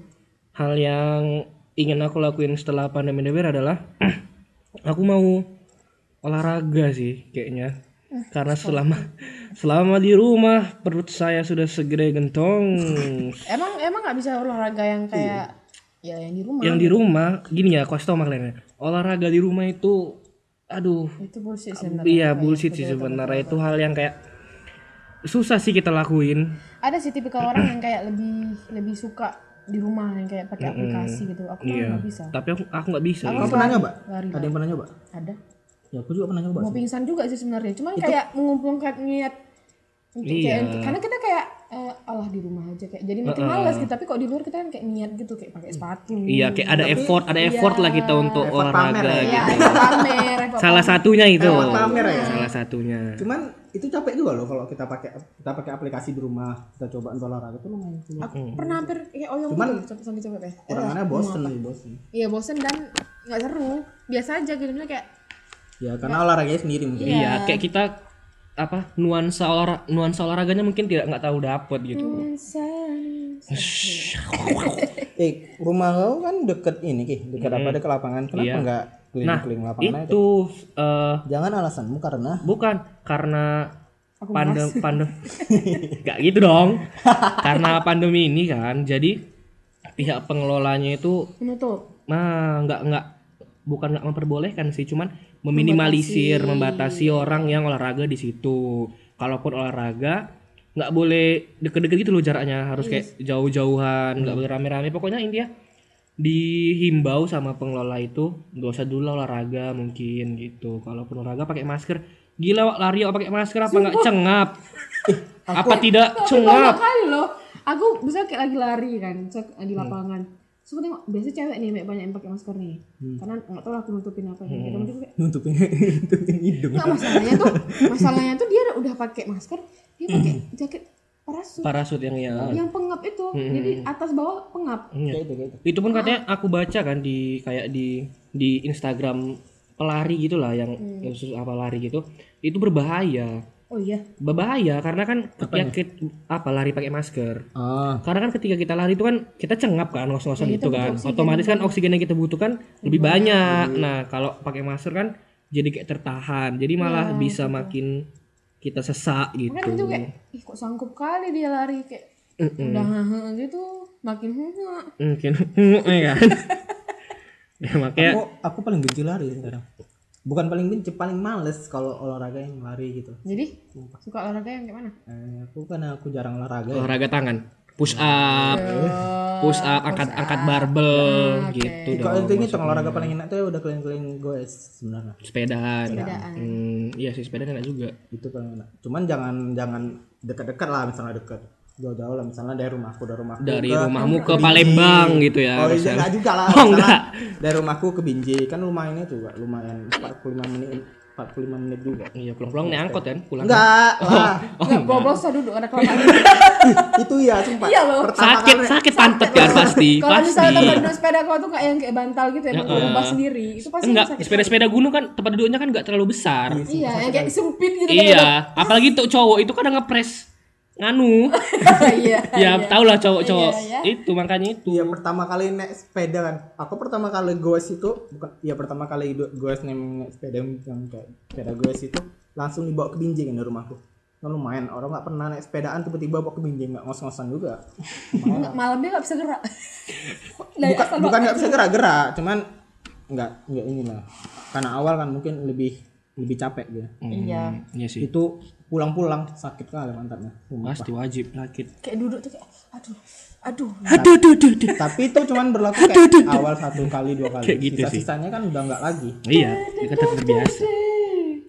[SPEAKER 1] hal yang ingin aku lakuin setelah pandemi ini berakhir adalah aku mau olahraga sih kayaknya. Karena selama selama di rumah perut saya sudah segede gentong.
[SPEAKER 3] Emang emang nggak bisa olahraga
[SPEAKER 1] Iya.
[SPEAKER 3] yang kayak, ya yang di rumah.
[SPEAKER 1] yang di rumah gini ya aku kasih tau sama kalian ya. olahraga di rumah itu aduh
[SPEAKER 3] Itu bullshit sebenarnya.
[SPEAKER 1] iya bullshit sih sebenarnya itu hal yang kayak susah sih kita lakuin
[SPEAKER 3] Ada sih tipikal orang yang kayak lebih lebih suka di rumah yang kayak pakai aplikasi gitu. Aku malah nggak bisa.
[SPEAKER 1] Iya. tapi aku aku nggak bisa gitu.
[SPEAKER 4] Kau pernah nyoba?
[SPEAKER 3] Lari,
[SPEAKER 4] Ada yang pernah nyoba?
[SPEAKER 3] Ada.
[SPEAKER 4] Ya aku juga pernah nyoba.
[SPEAKER 3] Mau
[SPEAKER 4] sih.
[SPEAKER 3] pingsan juga sih sebenarnya. Cuman kayak mengumpulkan niat untuk
[SPEAKER 1] Iya.
[SPEAKER 3] kayak untuk- karena kita kayak eh, Allah di rumah aja kayak jadi makin malas gitu. Tapi kok di luar kita kan kayak niat gitu kayak pakai sepatu.
[SPEAKER 1] iya kayak ada effort ada effort lah kita untuk
[SPEAKER 4] Effort
[SPEAKER 1] olahraga
[SPEAKER 4] pamer
[SPEAKER 1] gitu.
[SPEAKER 3] Ya, ada pamer, repot.
[SPEAKER 1] salah satunya itu
[SPEAKER 4] Effort pamer ya.
[SPEAKER 1] salah satunya
[SPEAKER 4] Cuman itu capek juga loh kalau kita pakai kita pakai aplikasi di rumah kita coba untuk olahraga itu lumayan.
[SPEAKER 1] Iya.
[SPEAKER 3] Aku pernah hampir kayak oyong
[SPEAKER 4] Cuman-
[SPEAKER 3] gitu, sampai coba kayak.
[SPEAKER 4] Orang aneh bosen sih bosen.
[SPEAKER 3] Iya bosen dan nggak seru. Biasa aja gitu Maksudnya kayak
[SPEAKER 4] Ya karena olahraganya sendiri mungkin.
[SPEAKER 1] iya kayak kita apa nuansa olahra- nuansa olahraganya mungkin tidak nggak tahu dapet gitu
[SPEAKER 3] Hmm.
[SPEAKER 4] Eh rumah kau kan deket ini ki, deket apa deket lapangan. Kenapa nggak
[SPEAKER 1] nah
[SPEAKER 4] keliling-keliling lapangan aja?
[SPEAKER 1] itu eh,
[SPEAKER 4] Jangan alasanmu karena
[SPEAKER 1] Bukan karena
[SPEAKER 3] Oh,
[SPEAKER 1] pandem pandem nggak gitu dong. karena pandemi ini kan, jadi pihak pengelolanya itu
[SPEAKER 3] menutup.
[SPEAKER 1] mah nggak nggak bukan nggak memperbolehkan sih cuman meminimalisir membatasi, orang yang olahraga di situ kalaupun olahraga nggak boleh deket-deket gitu loh jaraknya harus kayak jauh-jauhan nggak boleh rame-rame pokoknya intinya dihimbau sama pengelola itu nggak usah dulu lah olahraga mungkin gitu kalaupun olahraga pakai masker gila Wak, lari Wak, pakai masker apa nggak cengap apa tidak
[SPEAKER 3] Tapi banyak
[SPEAKER 1] cengap
[SPEAKER 3] kali loh. Aku bisa kayak lagi lari kan, cek di lapangan. Terus aku tengok, biasa cewek nih banyak yang pakai masker nih.
[SPEAKER 1] Hmm.
[SPEAKER 3] Karena nggak tahu lah aku nutupin apa ya. Gitu. Mungkin kayak,
[SPEAKER 4] nutupin nutupin hidung
[SPEAKER 1] Iya.
[SPEAKER 3] nggak masalahnya tuh, masalahnya tuh dia udah pakai masker, dia
[SPEAKER 1] Hmm.
[SPEAKER 3] pakai jaket parasut
[SPEAKER 1] parasut yang ya Iya.
[SPEAKER 3] yang pengap itu.
[SPEAKER 1] hmm,
[SPEAKER 3] Jadi atas bawah pengap.
[SPEAKER 4] kayak itu kayak gitu. itu
[SPEAKER 1] itu pun katanya aku baca kan di kayak di di Instagram pelari gitulah yang khusus apa lari gitu itu berbahaya
[SPEAKER 3] Oh iya.
[SPEAKER 1] berbahaya karena kan ya, kit- apa lari pakai masker
[SPEAKER 4] ah
[SPEAKER 1] karena kan ketika kita lari itu kan kita cengap kan ngos-ngosan gitu kan otomatis kan oksigen yang kita butuhkan lebih banyak nah kalau pakai masker kan jadi kayak tertahan jadi malah bisa makin kita sesak gitu
[SPEAKER 3] Makanya tuh kayak, ih kok sanggup kali dia lari kayak
[SPEAKER 1] Hmm.
[SPEAKER 3] udah hehe gitu, makin hehe.
[SPEAKER 1] mungkin ya kan ya makanya
[SPEAKER 4] aku aku paling benci lari sekarang bukan paling benci paling males kalau olahraga yang lari gitu
[SPEAKER 3] Jadi suka olahraga yang kayak mana?
[SPEAKER 1] Iya,
[SPEAKER 4] eh, aku karena aku jarang olahraga ya.
[SPEAKER 1] Eh, olahraga tangan push up push up angkat angkat barbel gitu
[SPEAKER 4] kalau
[SPEAKER 1] dong
[SPEAKER 4] intinya olahraga paling enak tuh ya udah keliling-keliling goes sebenarnya
[SPEAKER 1] sepedaan Hmm, iya sih sepedaan enak juga
[SPEAKER 4] itu paling enak cuman jangan jangan dekat-dekat lah misalnya dekat jauh-jauh lah misalnya dari rumahku dari rumahku
[SPEAKER 1] dari
[SPEAKER 4] ke-
[SPEAKER 1] rumahmu ke
[SPEAKER 4] Binjai.
[SPEAKER 1] Palembang gitu ya
[SPEAKER 4] oh iya
[SPEAKER 1] harusnya.
[SPEAKER 4] enggak juga lah
[SPEAKER 1] Oh,
[SPEAKER 4] misalnya
[SPEAKER 1] enggak.
[SPEAKER 4] dari rumahku ke Binjai kan lumayannya juga lumayan 45 menit 45 menit juga
[SPEAKER 1] iya pulang-pulang naik angkot kan pulang kan. Oh,
[SPEAKER 4] enggak lah
[SPEAKER 3] Nggak, bobos duduk
[SPEAKER 1] Iya,
[SPEAKER 3] ada kelemahan.
[SPEAKER 4] itu ya sumpah
[SPEAKER 3] Iya loh.
[SPEAKER 4] pertama
[SPEAKER 1] sakit
[SPEAKER 4] kali
[SPEAKER 1] sakit pantat kan pasti Iya.
[SPEAKER 3] Kalau misalnya
[SPEAKER 1] pasti
[SPEAKER 3] tempat duduk sepeda kau tuh kayak yang kayak bantal gitu ya, berubah sendiri. Itu pasti
[SPEAKER 1] enggak
[SPEAKER 3] sakit.
[SPEAKER 1] sepeda-sepeda gunung kan tempat duduknya kan enggak terlalu besar
[SPEAKER 3] Iya, yang kayak sempit gitu kan.
[SPEAKER 1] iya apalagi untuk cowok itu kadang ngepres nganu
[SPEAKER 3] Iya.
[SPEAKER 1] ya tau lah cowok-cowok itu makanya itu
[SPEAKER 4] Iya pertama kali naik sepeda kan. Aku pertama kali goes itu bukan ya pertama kali do- goes naik- naik sepeda yang kayak sepeda goes itu langsung dibawa ke Binjai kan dari rumahku. Kan lumayan orang nggak pernah naik sepedaan tiba-tiba bawa ke Binjai nggak ngos-ngosan juga.
[SPEAKER 3] Nggak, Malamnya nggak bisa gerak. Nah, Dari
[SPEAKER 4] Bukan
[SPEAKER 3] asal
[SPEAKER 4] bukan nggak bisa gerak-gerak, cuman nggak nggak ini lah. Karena awal kan mungkin lebih lebih capek dia.
[SPEAKER 3] Iya.
[SPEAKER 1] iya sih
[SPEAKER 4] Itu pulang-pulang sakit kali mantapnya.
[SPEAKER 1] pasti wajib sakit
[SPEAKER 3] Kayak duduk tuh kayak aduh. Aduh.
[SPEAKER 1] aduh aduh aduh, aduh.
[SPEAKER 4] Tapi itu cuman berlaku kayak awal satu kali dua kali.
[SPEAKER 1] Kayak gitu sih.
[SPEAKER 4] Sisa-sisanya kan udah nggak lagi.
[SPEAKER 1] Iya, kita terbiasa.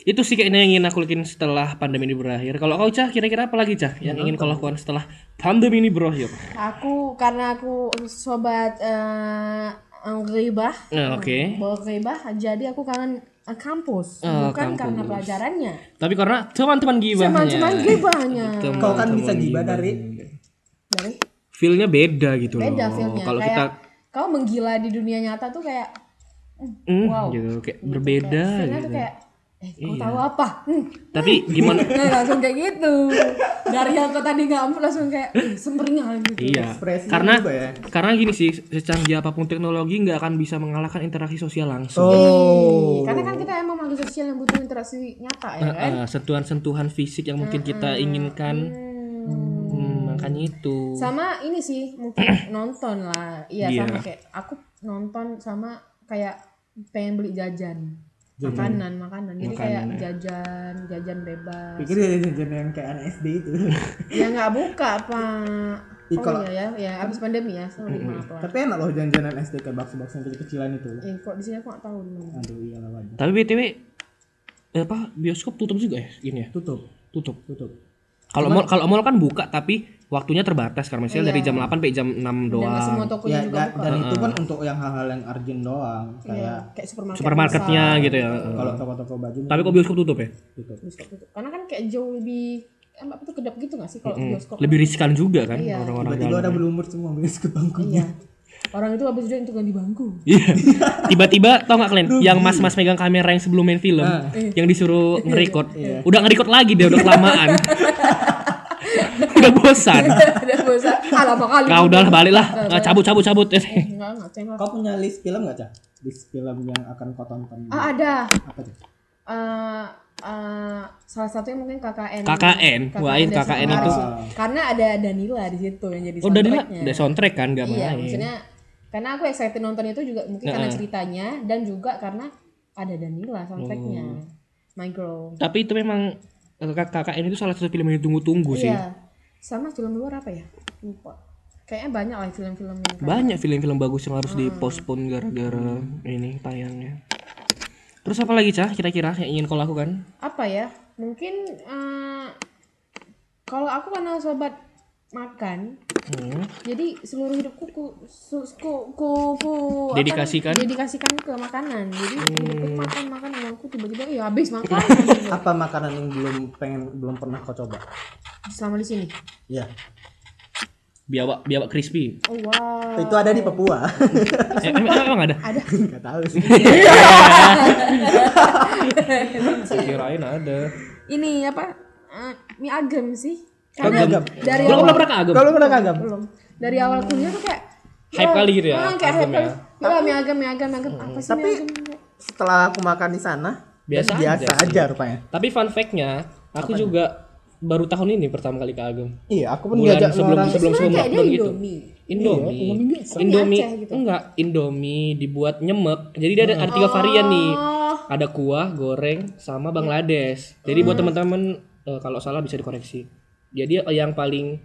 [SPEAKER 1] Itu sih kayaknya yang ingin aku lakuin setelah pandemi ini berakhir. Kalau kau Cah, kira-kira apa lagi Cah yang ingin kau lakukan setelah pandemi ini berakhir?
[SPEAKER 3] Aku karena aku sobat eh ribah,
[SPEAKER 1] Nah, oke.
[SPEAKER 3] bawa ribah, jadi aku kangen eh, kampus,
[SPEAKER 1] Oh,
[SPEAKER 3] bukan karena
[SPEAKER 1] kampus. Iya.
[SPEAKER 3] pelajarannya.
[SPEAKER 1] Tapi karena teman-teman gibahnya.
[SPEAKER 3] Cuman-cuman gibahnya.
[SPEAKER 1] Teman-teman
[SPEAKER 4] Kau kan bisa gibah dari
[SPEAKER 3] Dari
[SPEAKER 1] Feel-nya beda gitu loh.
[SPEAKER 3] beda filmnya.
[SPEAKER 1] Kalau
[SPEAKER 3] kayak
[SPEAKER 1] kita
[SPEAKER 3] kau menggila di dunia nyata tuh kayak
[SPEAKER 1] mm,
[SPEAKER 3] wow.
[SPEAKER 1] gitu kayak berbeda.
[SPEAKER 3] filmnya
[SPEAKER 1] Iya.
[SPEAKER 3] tuh kayak eh kau tahu apa? Hmm.
[SPEAKER 1] Tapi gimana
[SPEAKER 3] Nah, langsung kayak gitu. Dari yang kau tadi ngamuk langsung kayak "Ih, semperingan gitu.
[SPEAKER 1] Iya,
[SPEAKER 4] Ekspresi
[SPEAKER 1] karena
[SPEAKER 4] juga ya.
[SPEAKER 1] karena gini sih, secanggih apapun teknologi nggak akan bisa mengalahkan interaksi sosial langsung.
[SPEAKER 4] Oh.
[SPEAKER 3] Karena kan kita emang makhluk sosial yang butuh interaksi nyata ya kan.
[SPEAKER 1] Eh, sentuhan-sentuhan fisik yang mungkin kita inginkan. Hmm, makanya itu.
[SPEAKER 3] Sama ini sih mungkin nonton lah. Iya
[SPEAKER 1] Iya.
[SPEAKER 3] sama kayak aku nonton sama kayak pengen beli jajan. Makanan, makanan. Jadi
[SPEAKER 1] ya.
[SPEAKER 3] kayak jajan, jajan bebas.
[SPEAKER 4] Pikir dari jajan yang kayak anak SD itu.
[SPEAKER 3] ya nggak buka pak
[SPEAKER 4] Ih,
[SPEAKER 3] oh
[SPEAKER 4] kalau-
[SPEAKER 3] iya ya ya abis pandemi ya sorry maaf lah
[SPEAKER 4] Tapi enak loh jajanan SD kayak bakso-bakso yang kecil-kecilan itu.
[SPEAKER 3] eh kok di sini aku nggak tahu nih
[SPEAKER 4] Aduh iya lah waduh.
[SPEAKER 1] Tapi BTW eh, apa bioskop tutup juga ya ini ya?
[SPEAKER 4] Tutup,
[SPEAKER 1] Tutup.
[SPEAKER 4] tutup.
[SPEAKER 1] Kalau mall kalau mall kan buka tapi waktunya terbatas kan misalnya dari jam 8 sampai jam 6
[SPEAKER 3] Iya. dan nggak semua
[SPEAKER 1] doang.
[SPEAKER 3] tokonya
[SPEAKER 4] Ya
[SPEAKER 3] juga
[SPEAKER 4] da-
[SPEAKER 3] buka
[SPEAKER 4] dan itu kan
[SPEAKER 1] Ah.
[SPEAKER 4] untuk yang hal-hal yang urgent doang
[SPEAKER 3] Iya,
[SPEAKER 4] kayak
[SPEAKER 3] kayak supermarket
[SPEAKER 1] Supermarketnya gitu ya.
[SPEAKER 4] kalau toko-toko baju
[SPEAKER 1] Tapi kok bioskop tutup ya?
[SPEAKER 4] tutup.
[SPEAKER 3] besar. Bioskop itu. karena kan kayak jauh lebih em, apa tuh kedap gitu nggak sih kalau bioskop
[SPEAKER 1] Lebih riskan juga kan orang-orang
[SPEAKER 4] Tiba-tiba
[SPEAKER 1] dalam.
[SPEAKER 4] ada berlumur semua bias ke
[SPEAKER 3] iya
[SPEAKER 4] bangkunya.
[SPEAKER 3] orang itu abis itu untuk ganti bangku
[SPEAKER 1] Iya. Tiba-tiba tau gak kalian yang mas-mas megang kamera yang sebelum main film
[SPEAKER 4] Nah.
[SPEAKER 3] Eh.
[SPEAKER 1] yang
[SPEAKER 3] Iya,
[SPEAKER 1] disuruh ngerekord.
[SPEAKER 4] Iya.
[SPEAKER 1] Udah ngerekord lagi dia udah kelamaan. udah bosan.
[SPEAKER 3] ada bosan ah lama kali
[SPEAKER 1] Kau udahlah baliklah. Eh, Cabut cabut cabut.
[SPEAKER 3] nggak nggak cengok
[SPEAKER 4] Kau punya list film nggak cah? List film yang akan kau tonton.
[SPEAKER 3] ah ada
[SPEAKER 4] Apa cah?
[SPEAKER 3] eh eh, salah satu yang mungkin KKN
[SPEAKER 1] KKN. Wah, ini
[SPEAKER 3] dan
[SPEAKER 1] KKN
[SPEAKER 3] Sukar
[SPEAKER 1] itu.
[SPEAKER 3] sih. karena ada Danila di situ yang jadi
[SPEAKER 1] Oh, Danila
[SPEAKER 3] soundtracknya.
[SPEAKER 1] udah soundtrack kan gak
[SPEAKER 3] Iya,
[SPEAKER 1] main.
[SPEAKER 3] maksudnya Karena aku excited nonton itu juga mungkin karena ceritanya dan juga karena ada Danila soundtracknya.
[SPEAKER 1] Oh.
[SPEAKER 3] My Girl.
[SPEAKER 1] Tapi itu memang eh, kakak KKN itu salah satu film yang ditunggu-tunggu sih.
[SPEAKER 3] Iya. Sama film luar apa ya? Lupa. Kayaknya banyak lah film-film yang
[SPEAKER 1] Banyak film-film bagus yang harus dipospon gara-gara ini tayangnya. Terus apa lagi cah kira-kira yang ingin kau lakukan?
[SPEAKER 3] apa ya mungkin eh, kalau aku karena sobat makan
[SPEAKER 1] Hmm.
[SPEAKER 3] jadi seluruh hidupku ku, su, ku, ku, ku apa
[SPEAKER 1] Dedikasikan? Hmm.
[SPEAKER 3] nih? dedikasikan ke makanan jadi hidupku makan makan dan aku tiba-tiba iya habis makan
[SPEAKER 4] Apa makanan yang belum pengen belum pernah kau coba?
[SPEAKER 3] selama di sini
[SPEAKER 4] Iya.
[SPEAKER 1] Biawak biawak crispy.
[SPEAKER 3] oh wow
[SPEAKER 4] Itu ada di Papua.
[SPEAKER 1] Eh, emang, emang ada?
[SPEAKER 3] ada
[SPEAKER 4] Enggak tahu sih.
[SPEAKER 1] Saya kirain ada.
[SPEAKER 3] ini apa eh, mie agem sih
[SPEAKER 1] Kagam.
[SPEAKER 3] dari
[SPEAKER 1] Belum pernah
[SPEAKER 3] awal
[SPEAKER 1] pernah kagam.
[SPEAKER 4] Kalau pernah kagak?
[SPEAKER 3] belum dari awal kuliah tuh kayak
[SPEAKER 1] Hype
[SPEAKER 3] wah,
[SPEAKER 1] kali gitu ya,
[SPEAKER 3] ah, kayak
[SPEAKER 1] agem
[SPEAKER 3] hype kali.
[SPEAKER 1] ya.
[SPEAKER 3] Wah, mie agem mie agem mie agem apa sih mie
[SPEAKER 4] Tapi-
[SPEAKER 3] agem
[SPEAKER 4] Setelah aku makan di sana,
[SPEAKER 1] Biasa
[SPEAKER 4] biasa
[SPEAKER 1] aja
[SPEAKER 4] aja, rupanya.
[SPEAKER 1] Tapi fun fact-nya, aku juga baru tahun ini pertama kali ke Agem.
[SPEAKER 4] Iya, aku pun
[SPEAKER 1] Bulan
[SPEAKER 4] diajak
[SPEAKER 1] sebelum
[SPEAKER 4] sama orang.
[SPEAKER 1] sebelum sebelum
[SPEAKER 3] Sengaja dia
[SPEAKER 1] lockdown gitu.
[SPEAKER 3] Indomie.
[SPEAKER 1] Indomie.
[SPEAKER 4] Iya, Indomie biasa.
[SPEAKER 1] Indomie,
[SPEAKER 3] Aceh gitu.
[SPEAKER 1] enggak, Indomie dibuat nyemek. Jadi dia ada, ada tiga varian nih. Ada kuah, goreng, sama Bangladesh. Jadi buat teman-teman eh, kalau salah bisa dikoreksi. Jadi yang paling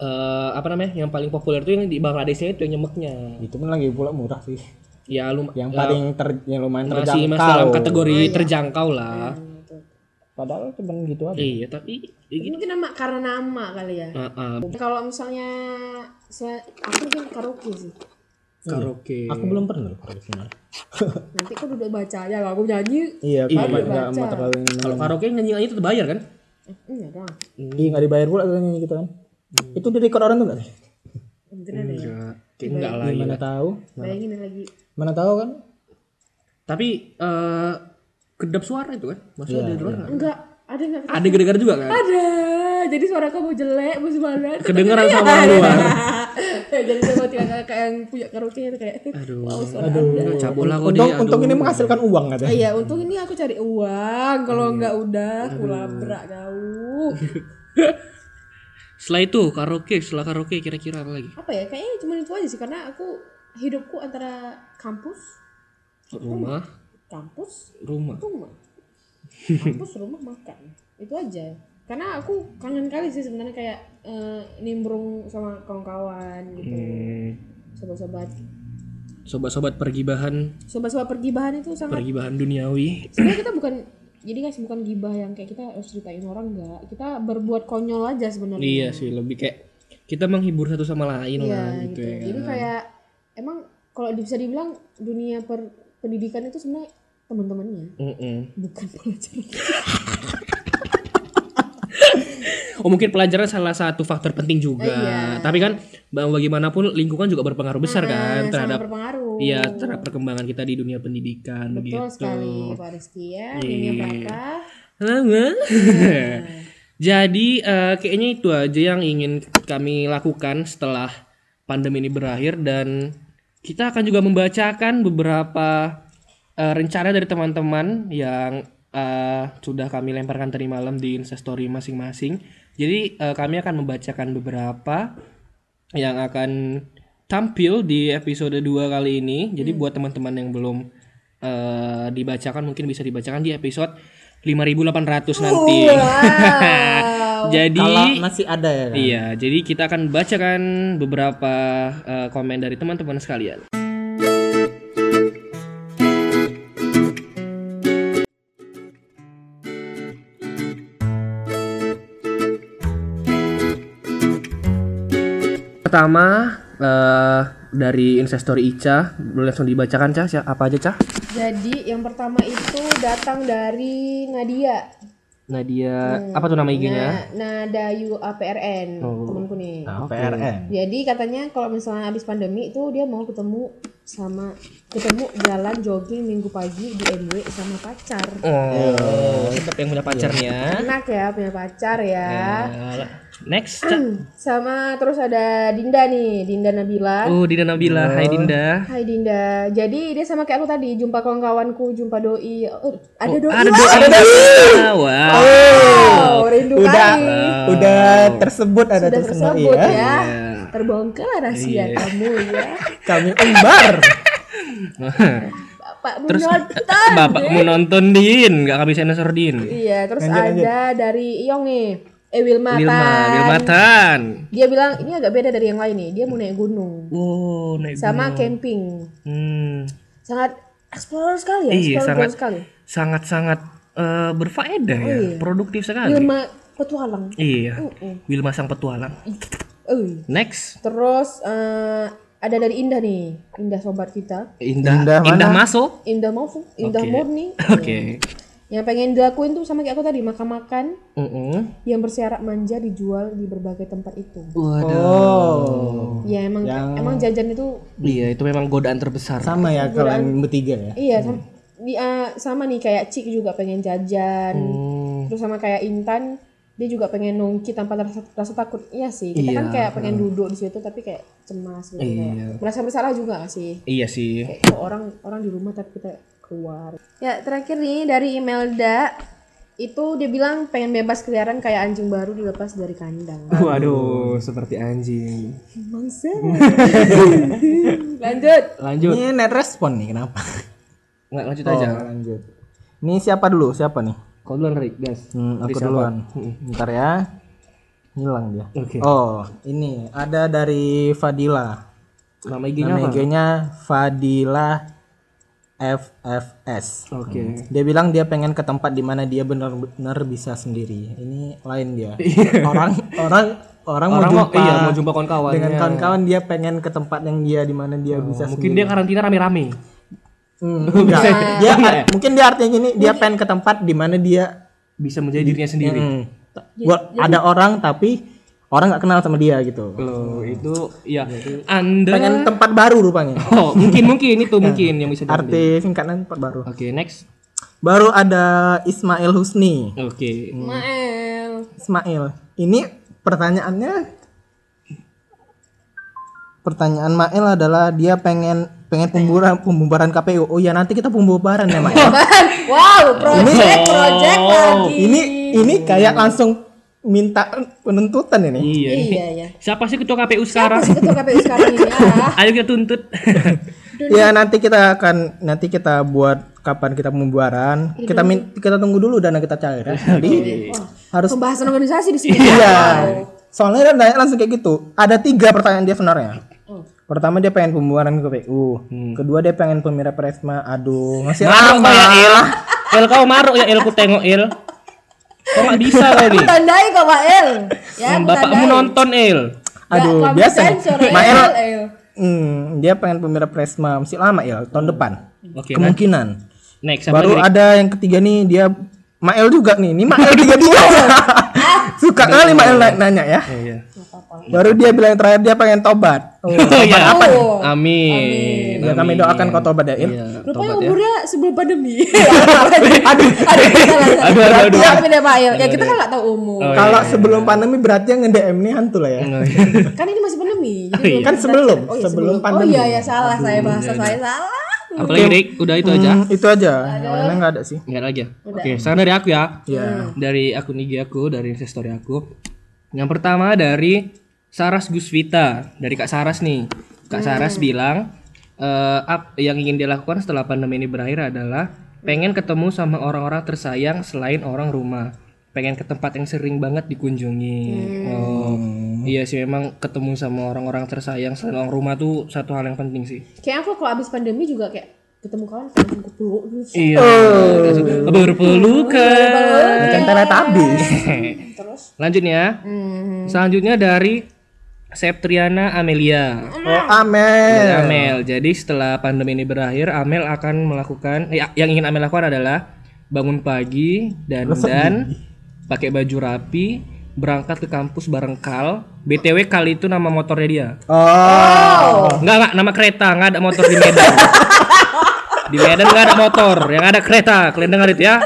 [SPEAKER 1] eh, apa namanya? Yang paling populer itu yang di Bangladeshnya itu yang nyemeknya.
[SPEAKER 4] Itu pun lagi pula murah sih.
[SPEAKER 1] Ya lu
[SPEAKER 4] Yang
[SPEAKER 1] eh,
[SPEAKER 4] paling ter, yang lumayan
[SPEAKER 1] masih masih
[SPEAKER 4] terjangkau.
[SPEAKER 1] dalam kategori terjangkau lah.
[SPEAKER 4] Padahal cuma gitu aja.
[SPEAKER 1] Iya, tapi ya gitu.
[SPEAKER 3] Mungkin nama karena nama kali ya.
[SPEAKER 1] Ah, ah,
[SPEAKER 3] Kalau misalnya saya aku mungkin karaoke sih.
[SPEAKER 1] karaoke.
[SPEAKER 4] Iya. Aku belum pernah loh kalau di sana.
[SPEAKER 3] Nanti aku duduk baca ya, aku nyanyi.
[SPEAKER 4] Iya, aku
[SPEAKER 1] Iya.
[SPEAKER 4] nggak- nggak mau terlalu
[SPEAKER 1] Kalau karaoke nyanyi-nyanyi itu terbayar kan?
[SPEAKER 3] Eh, Iya dong.
[SPEAKER 4] Iya, nggak dibayar pula katanya gitu kan.
[SPEAKER 1] Hmm.
[SPEAKER 4] Itu di record orang tuh nggak sih?
[SPEAKER 3] Mungkin ada ya.
[SPEAKER 1] Kayak enggak lah. iya.
[SPEAKER 4] Mana tahu?
[SPEAKER 1] Hmm.
[SPEAKER 3] Bayangin lagi.
[SPEAKER 4] Mana tahu kan?
[SPEAKER 1] Tapi eh kedap suara itu kan? Maksudnya
[SPEAKER 3] Iya,
[SPEAKER 1] ada di luar nggak?
[SPEAKER 3] Enggak, ada enggak?
[SPEAKER 1] Ada gara-gara juga kan?
[SPEAKER 3] Ada. Jadi suara kamu jelek, bos banget.
[SPEAKER 1] Kedengeran sama
[SPEAKER 3] Iya.
[SPEAKER 1] orang luar.
[SPEAKER 3] Jadi coba tiga kakak yang punya karaoke itu kayak
[SPEAKER 1] Aduh.
[SPEAKER 3] wow, suara Anda.
[SPEAKER 1] Aduh. Cabul lah kok
[SPEAKER 4] untung,
[SPEAKER 1] dia.
[SPEAKER 4] untung ini
[SPEAKER 1] aduh.
[SPEAKER 4] menghasilkan uang katanya.
[SPEAKER 3] Iya, untung ini aku cari uang.
[SPEAKER 1] Iya.
[SPEAKER 3] Kalau enggak udah kulabrak kau.
[SPEAKER 1] Setelah itu karaoke, setelah karaoke kira-kira apa lagi?
[SPEAKER 3] apa ya kayaknya cuma itu aja sih karena aku hidupku antara kampus
[SPEAKER 1] Rumah,
[SPEAKER 3] kampus
[SPEAKER 1] rumah.
[SPEAKER 3] rumah kampus rumah makan itu aja karena aku kangen kali sih sebenarnya kayak eh, nimbrung sama kawan-kawan gitu
[SPEAKER 1] Hmm,
[SPEAKER 3] sobat-sobat
[SPEAKER 1] Sobat-sobat pergi bahan,
[SPEAKER 3] sobat-sobat pergi bahan itu sangat
[SPEAKER 1] pergi bahan duniawi.
[SPEAKER 3] sebenarnya kita bukan jadi guys bukan gibah yang kayak kita harus ceritain orang enggak kita berbuat konyol aja sebenarnya
[SPEAKER 1] Iya sih, lebih kayak kita menghibur satu sama lain
[SPEAKER 3] Iya,
[SPEAKER 1] lah gitu,
[SPEAKER 3] gitu.
[SPEAKER 1] ya.
[SPEAKER 3] Jadi kayak emang kalau bisa dibilang dunia per- pendidikan itu sebenarnya teman-temannya
[SPEAKER 1] Mm-mm.
[SPEAKER 3] bukan pelajaran.
[SPEAKER 1] Oh mungkin pelajaran salah satu faktor penting juga.
[SPEAKER 3] Iya.
[SPEAKER 1] Tapi kan ba- bagaimanapun lingkungan juga berpengaruh besar kan
[SPEAKER 3] Sangat
[SPEAKER 1] terhadap
[SPEAKER 3] berpengaruh.
[SPEAKER 1] Iya, terhadap perkembangan kita di dunia pendidikan
[SPEAKER 3] Betul
[SPEAKER 1] gitu. Iya.
[SPEAKER 3] sekali Pak Rizky ya. Dunia berkah.
[SPEAKER 1] Lama. Jadi eh, kayaknya itu aja yang ingin kami lakukan setelah pandemi ini berakhir dan kita akan juga membacakan beberapa eh, rencana dari teman-teman yang eh, sudah kami lemparkan tadi malam di instastory masing-masing. Jadi eh, kami akan membacakan beberapa yang akan tampil di episode 2 kali ini. Jadi buat teman-teman yang belum eh, dibacakan mungkin bisa dibacakan di episode 5800 nanti. Jadi
[SPEAKER 4] Kalau masih ada ya kan?
[SPEAKER 1] iya, jadi kita akan bacakan beberapa eh, komen dari teman-teman sekalian. Pertama eh, dari Instastory Ica, boleh langsung dibacakan Cah, Siap- apa aja Cah?
[SPEAKER 3] Jadi yang pertama itu datang dari Nadia.
[SPEAKER 1] Nadia, apa tuh nama IG-nya?
[SPEAKER 3] Nah, Nadayu APRN,
[SPEAKER 1] Oh.
[SPEAKER 3] temanku nih.
[SPEAKER 1] Ah. Iya.
[SPEAKER 4] PRN.
[SPEAKER 3] Jadi katanya kalau misalnya habis pandemi itu dia mau ketemu sama ketemu jalan jogging minggu pagi di MW sama pacar.
[SPEAKER 1] Oh, tetap yang punya pacarnya. Iya.
[SPEAKER 3] Enak ya punya pacar ya.
[SPEAKER 1] Alah. Next. Ca.
[SPEAKER 3] Sama terus ada Dinda nih, Dinda Nabila.
[SPEAKER 1] Oh, Dinda Nabila. Hai Dinda.
[SPEAKER 3] Hai Dinda. Jadi dia sama kayak aku tadi, jumpa kawan-kawanku, jumpa doi. Oh, ada doi.
[SPEAKER 1] Ada
[SPEAKER 3] lah.
[SPEAKER 1] doa. Ada doa. Wow.
[SPEAKER 3] Wow, rindu
[SPEAKER 4] udah
[SPEAKER 3] kali.
[SPEAKER 4] udah
[SPEAKER 1] Iya.
[SPEAKER 4] tersebut ada
[SPEAKER 3] Sudah
[SPEAKER 4] tersebut
[SPEAKER 3] tersebut
[SPEAKER 4] ya.
[SPEAKER 3] ya. Terbongkar rahasia kamu ya.
[SPEAKER 4] Kami umbar.
[SPEAKER 3] Bapak
[SPEAKER 1] Terus
[SPEAKER 3] menonton.
[SPEAKER 1] bapakmu nonton Din, nggak habis sensor Din.
[SPEAKER 3] Iya, terus
[SPEAKER 4] Lanjut,
[SPEAKER 3] ada dari Iyong nih. Eh Wilma,
[SPEAKER 1] Wilma,
[SPEAKER 3] Tan.
[SPEAKER 1] Wilmatan.
[SPEAKER 3] Dia bilang ini agak beda dari yang lain nih. Dia mau naik gunung
[SPEAKER 1] Wow, naik
[SPEAKER 3] sama
[SPEAKER 1] gunung.
[SPEAKER 3] camping.
[SPEAKER 1] Hmm,
[SPEAKER 3] Sangat explorer sekali ya,
[SPEAKER 1] Iya,
[SPEAKER 3] explorer
[SPEAKER 1] sangat-
[SPEAKER 3] sekali.
[SPEAKER 1] sangat-sangat eh, berfaedah ya, produktif sekali.
[SPEAKER 3] Wilma petualang.
[SPEAKER 1] Iya.
[SPEAKER 3] Mm-mm.
[SPEAKER 1] Wilma sang petualang.
[SPEAKER 3] Ui.
[SPEAKER 1] Next,
[SPEAKER 3] Terus eh, ada dari Indah nih, Indah sobat kita.
[SPEAKER 1] Indah
[SPEAKER 4] Indah
[SPEAKER 1] Indah,
[SPEAKER 4] mana?
[SPEAKER 1] masuk.
[SPEAKER 3] Indah mau, Indah
[SPEAKER 1] Oke.
[SPEAKER 3] murni.
[SPEAKER 1] Oke.
[SPEAKER 3] Yang pengen dilakuin tuh sama kayak aku tadi makan-makan
[SPEAKER 1] Mm-mm.
[SPEAKER 3] yang bersyarat manja dijual di berbagai tempat itu.
[SPEAKER 1] Waduh.
[SPEAKER 4] Oh.
[SPEAKER 3] Ya emang
[SPEAKER 4] Yang-
[SPEAKER 3] emang jajan itu
[SPEAKER 1] Iya, itu memang godaan terbesar.
[SPEAKER 4] Sama ya kalian bertiga ya.
[SPEAKER 1] Hmm.
[SPEAKER 3] iya sama, di- eh, sama nih kayak Cik juga pengen jajan.
[SPEAKER 1] Hmm,
[SPEAKER 3] Terus sama kayak Intan dia juga pengen nongki tanpa rasa, rasa takut. Iya sih, kita kan
[SPEAKER 1] Iya.
[SPEAKER 3] kayak pengen duduk di situ tapi kayak cemas gitu kayak
[SPEAKER 1] Iya.
[SPEAKER 3] Merasa bersalah juga gak sih?
[SPEAKER 1] iya sih.
[SPEAKER 3] kayak kok orang orang di rumah tapi kita keluar ya terakhir nih dari Imelda itu dia bilang pengen bebas keliaran kayak anjing baru dilepas dari kandang
[SPEAKER 1] Waduh, seperti anjing.
[SPEAKER 3] mangsa lanjut
[SPEAKER 1] Lanjut.
[SPEAKER 4] Ini net respon nih kenapa?
[SPEAKER 1] Nggak lanjut
[SPEAKER 4] Oh,
[SPEAKER 1] aja.
[SPEAKER 4] lanjut. Ini siapa dulu? Siapa nih?
[SPEAKER 1] Kau duluan, Rik, guys.
[SPEAKER 4] Hmm, aku
[SPEAKER 1] Siapa?
[SPEAKER 4] duluan. Bentar ya. Hilang dia.
[SPEAKER 1] Oke.
[SPEAKER 4] Oh, ini ada dari Fadila.
[SPEAKER 1] Nama IG-nya
[SPEAKER 4] Nama
[SPEAKER 1] apa?
[SPEAKER 4] IG-nya Fadila FFS.
[SPEAKER 1] Oke.
[SPEAKER 4] Dia bilang dia pengen ke tempat di mana dia benar-benar bisa sendiri. Ini lain dia. orang orang orang,
[SPEAKER 1] Iya. Orang
[SPEAKER 4] mau
[SPEAKER 1] mau,
[SPEAKER 4] jumpa
[SPEAKER 1] iya, mau jumpa kawan-kawannya.
[SPEAKER 4] dengan kawan-kawan dia pengen ke tempat yang dia di mana dia bisa
[SPEAKER 1] Oh, Mungkin
[SPEAKER 4] sendiri.
[SPEAKER 1] dia karantina rame-rame.
[SPEAKER 4] Hmm, enggak. dia
[SPEAKER 1] ya?
[SPEAKER 4] mungkin dia artinya gini, dia pengen ke tempat di mana dia
[SPEAKER 1] Bisa menjadi dirinya sendiri.
[SPEAKER 4] Hmm. Gua- ada orang tapi orang nggak kenal sama dia gitu.
[SPEAKER 1] Loh, itu
[SPEAKER 4] iya.
[SPEAKER 1] ya Anda
[SPEAKER 4] Pengen tempat baru rupanya.
[SPEAKER 1] Oh, mungkin mungkin itu
[SPEAKER 4] Hmm.
[SPEAKER 1] mungkin yang bisa diambil. Oke,
[SPEAKER 4] Arti singkatan tempat baru.
[SPEAKER 1] next.
[SPEAKER 4] Baru ada Ismail Husni.
[SPEAKER 1] Oke.
[SPEAKER 4] Hmm.
[SPEAKER 3] Mael
[SPEAKER 4] Ismail. Ini pertanyaannya pertanyaan Mail adalah dia pengen pengen pembubaran pembubaran KPU. Oh ya nanti kita pembubaran ya Mail.
[SPEAKER 3] wow project project lagi
[SPEAKER 4] ini ini kayak langsung minta penuntutan ini.
[SPEAKER 1] Iya.
[SPEAKER 3] iya ya
[SPEAKER 1] Siapa sih ketua KPU
[SPEAKER 3] siapa
[SPEAKER 1] sekarang?
[SPEAKER 3] sih ketua KPU sekarang ini ah
[SPEAKER 1] Ayo kita tuntut.
[SPEAKER 4] Ya nanti kita akan nanti kita buat kapan kita pembubaran. Kita min- kita tunggu dulu dana kita cair. ya. Jadi harus
[SPEAKER 3] pembahasan organisasi di sini
[SPEAKER 4] iya. Soalnya dia nanya langsung kayak gitu. Ada tiga pertanyaan dia sebenarnya. Pertama dia pengen pembubaran KPU. Kedua dia pengen pemirsa Presma. Aduh, masih
[SPEAKER 1] Maruk kau ya
[SPEAKER 4] lama.
[SPEAKER 1] El. El kau maruk ya El ku tengok El. Kau nggak bisa kau nih.
[SPEAKER 3] tandai kok Mael ya
[SPEAKER 1] Bapakmu nonton El.
[SPEAKER 4] Aduh, biasa.
[SPEAKER 3] Mael
[SPEAKER 4] nih. Mael,
[SPEAKER 3] ya. Iya, El.
[SPEAKER 4] hmm, dia pengen pemirsa Presma. Masih lama ya, tahun depan.
[SPEAKER 1] Oke, next.
[SPEAKER 4] Kemungkinan.
[SPEAKER 1] next. Siapa
[SPEAKER 4] Baru
[SPEAKER 1] lagi?
[SPEAKER 4] ada yang ketiga nih dia Mael juga nih. Ini Mael tiga tiga. Suka kali Mael na- nanya ya.
[SPEAKER 1] Oh, iya.
[SPEAKER 4] Baru dia bilang yang terakhir dia pengen tobat. Oh,
[SPEAKER 1] Oh, iya.
[SPEAKER 3] Oh.
[SPEAKER 1] Amin.
[SPEAKER 4] ya kami doakan kau tobat ya. Il.
[SPEAKER 1] Iya,
[SPEAKER 3] Rupanya
[SPEAKER 1] tobat ya.
[SPEAKER 3] umurnya sebelum pandemi. aduh, aduh, salah, salah.
[SPEAKER 1] Aduh, aduh, aduh.
[SPEAKER 3] Tapi dia Pak Il. Ya kita kan nggak tahu umur.
[SPEAKER 1] Oh,
[SPEAKER 4] Kalau sebelum pandemi berarti yang nge-DM nih hantu lah ya.
[SPEAKER 1] Oh, iya.
[SPEAKER 3] Kan ini masih pandemi.
[SPEAKER 1] iya.
[SPEAKER 3] jadi belum
[SPEAKER 4] Kan
[SPEAKER 3] kita-
[SPEAKER 4] sebelum,
[SPEAKER 3] oh, iya,
[SPEAKER 4] sebelum
[SPEAKER 3] Oh
[SPEAKER 4] pandemi.
[SPEAKER 3] iya ya salah saya bahasa saya salah.
[SPEAKER 1] Apalagi Rik, udah itu aja.
[SPEAKER 4] Hmm, itu aja. Yang lainnya nggak ada sih.
[SPEAKER 1] Enggak lagi ya? Oke, sekarang dari aku ya. Dari akun IG aku, dari Insta story aku. Yang pertama dari Saras Gusvita, dari Kak Saras nih. Kak Saras bilang eh ap- yang ingin dia lakukan setelah pandemi ini berakhir adalah pengen ketemu sama orang-orang tersayang selain orang rumah. Pengen ke tempat yang sering banget dikunjungi. Oh, iya sih memang ketemu sama orang-orang tersayang selain orang rumah tuh satu hal yang penting sih.
[SPEAKER 3] Kayak aku kalau abis pandemi juga kayak ketemu gitu. kawan langsung ke peluk dulu.
[SPEAKER 1] Iya. Berpelukan.
[SPEAKER 4] Bukan teletabis.
[SPEAKER 3] terus.
[SPEAKER 1] Lanjut nih ya.
[SPEAKER 3] Hmm.
[SPEAKER 1] Selanjutnya dari Septriana Amelia.
[SPEAKER 4] Oh, amin.
[SPEAKER 1] Dari Amel. Jadi setelah pandemi ini berakhir, Amel akan melakukan eh, yang ingin Amel lakukan adalah bangun pagi dan dan pakai baju rapi, berangkat ke kampus bareng Kal. BTW Kal itu nama motornya dia.
[SPEAKER 4] Oh.
[SPEAKER 1] Enggak enggak nama kereta, enggak ada motor di Medan. di Medan enggak ada motor, yang ada kereta. Kalian dengar itu ya?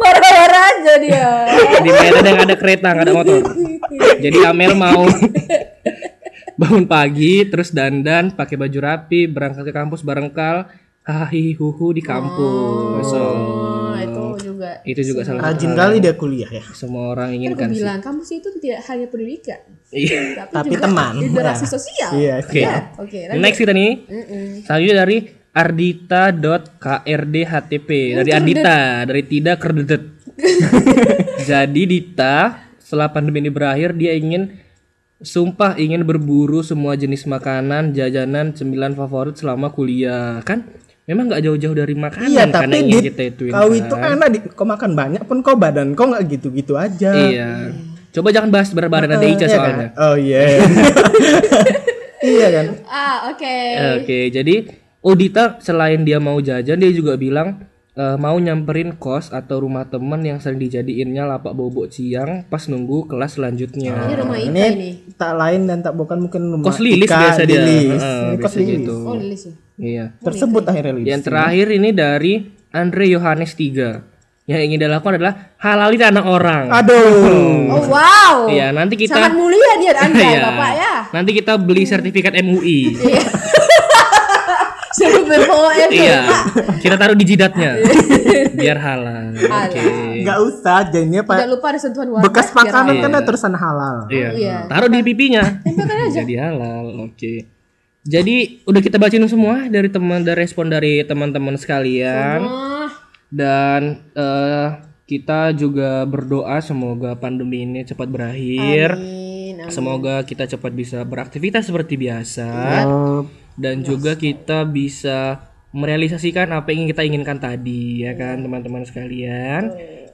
[SPEAKER 3] Marah-marah aja dia.
[SPEAKER 1] di Medan yang ada kereta nggak ada motor jadi Amel mau bangun pagi terus dandan pakai baju rapi berangkat ke kampus bareng Kal hahihuhu di kampus So,
[SPEAKER 3] Nah, itu juga.
[SPEAKER 1] itu juga salah satu
[SPEAKER 4] Rajin kali dia kuliah ya.
[SPEAKER 1] semua orang
[SPEAKER 3] Kan gue
[SPEAKER 1] inginkan sih
[SPEAKER 3] bilang kampus itu tidak hanya pendidikan,
[SPEAKER 1] Iya.
[SPEAKER 3] tapi,
[SPEAKER 4] Tapi
[SPEAKER 3] juga
[SPEAKER 4] teman.
[SPEAKER 3] literasi
[SPEAKER 4] Ya.
[SPEAKER 3] sosial.
[SPEAKER 4] Iya,
[SPEAKER 1] oke
[SPEAKER 4] iya.
[SPEAKER 3] Oke, lanjut.
[SPEAKER 1] next kita nih
[SPEAKER 3] Mm-mm.
[SPEAKER 1] selanjutnya dari er ardita.krdhtp dari Ardita dari tidak kerdedet jadi Dita setelah pandemi ini berakhir dia ingin sumpah ingin berburu semua jenis makanan jajanan cemilan favorit selama kuliah kan memang nggak jauh-jauh dari makanan
[SPEAKER 4] Iya,
[SPEAKER 1] kan yang
[SPEAKER 4] tapi di
[SPEAKER 1] ingin kita ituin
[SPEAKER 4] kau
[SPEAKER 1] kan.
[SPEAKER 4] itu enak di, kau makan banyak pun kau badan kau nggak gitu-gitu aja.
[SPEAKER 1] iya coba jangan bahas bareng-bareng ada Ica
[SPEAKER 4] Iya kan?
[SPEAKER 1] soalnya
[SPEAKER 4] Oh iya. iya kan?
[SPEAKER 3] Ah, oke.
[SPEAKER 1] Oke, jadi Odita selain dia mau jajan, dia juga bilang eh, mau nyamperin kos atau rumah temen yang sering dijadiinnya lapak bobok ciang pas nunggu kelas selanjutnya.
[SPEAKER 3] Ini rumah Ita
[SPEAKER 4] Ini
[SPEAKER 3] ini.
[SPEAKER 4] tak lain dan tak bukan mungkin rumah
[SPEAKER 1] Kos Lilis
[SPEAKER 4] Ika
[SPEAKER 1] biasa dia.
[SPEAKER 4] Lilis.
[SPEAKER 1] Heeh,
[SPEAKER 4] Ini kos
[SPEAKER 1] biasa Iya.
[SPEAKER 4] Lilis.
[SPEAKER 1] gitu.
[SPEAKER 3] Oh, Lilis ya.
[SPEAKER 1] Iya.
[SPEAKER 4] Tersebut akhirnya Lilis.
[SPEAKER 1] Yang terakhir ini dari Andre Yohanes 3. Yang ingin dia lakukan adalah halalin anak orang.
[SPEAKER 4] Aduh.
[SPEAKER 3] Oh,
[SPEAKER 1] Hmm.
[SPEAKER 3] wow.
[SPEAKER 1] Iya, nanti kita
[SPEAKER 3] Sangat mulia dia Anda,
[SPEAKER 1] Iya.
[SPEAKER 3] Bapak ya.
[SPEAKER 1] Nanti kita beli sertifikat MUI.
[SPEAKER 3] Suruh BPOM.
[SPEAKER 1] iya. Kita taruh di jidatnya. Biar halal. Oke.
[SPEAKER 4] Nggak usah jadinya Pak.
[SPEAKER 3] Tidak lupa ada sentuhan warna.
[SPEAKER 4] Bekas makanan
[SPEAKER 1] halal.
[SPEAKER 4] kan ada
[SPEAKER 1] Iya.
[SPEAKER 4] tulisan halal.
[SPEAKER 1] Iya. Taruh di pipinya. Jadi halal. Oke. Jadi udah kita bacain semua dari teman dari respon dari teman-teman sekalian
[SPEAKER 3] Ah,
[SPEAKER 1] dan eh, kita juga berdoa semoga pandemi ini cepat berakhir.
[SPEAKER 3] amin.
[SPEAKER 1] Semoga kita cepat bisa beraktivitas seperti biasa
[SPEAKER 4] Eh,
[SPEAKER 1] dan juga kita bisa merealisasikan apa yang kita inginkan tadi ya kan teman-teman sekalian.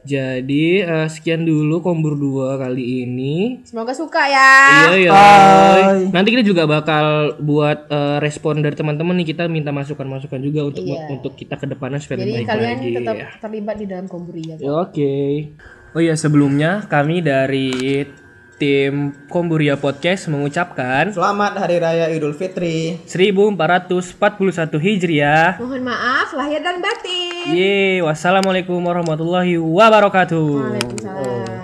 [SPEAKER 1] Jadi eh, sekian dulu kombur dua kali ini.
[SPEAKER 3] Semoga suka ya.
[SPEAKER 1] Iya,
[SPEAKER 4] Hai.
[SPEAKER 1] iya. Nanti kita juga bakal buat eh, respon dari teman-teman nih. Kita minta masukan-masukan juga untuk untuk kita ke depannya supaya
[SPEAKER 3] Jadi
[SPEAKER 1] lebih baik
[SPEAKER 3] kalian
[SPEAKER 1] lagi.
[SPEAKER 3] tetap terlibat di dalam komburia.
[SPEAKER 1] Ya, Oke. Oh iya, sebelumnya kami dari tim Komburia Podcast mengucapkan
[SPEAKER 4] Selamat Hari Raya Idul Fitri.
[SPEAKER 1] 1441 Hijriah.
[SPEAKER 3] Mohon maaf lahir dan batin.
[SPEAKER 1] Iya. Yeay, wassalamualaikum warahmatullahi wabarakatuh.
[SPEAKER 3] Waalaikumsalam.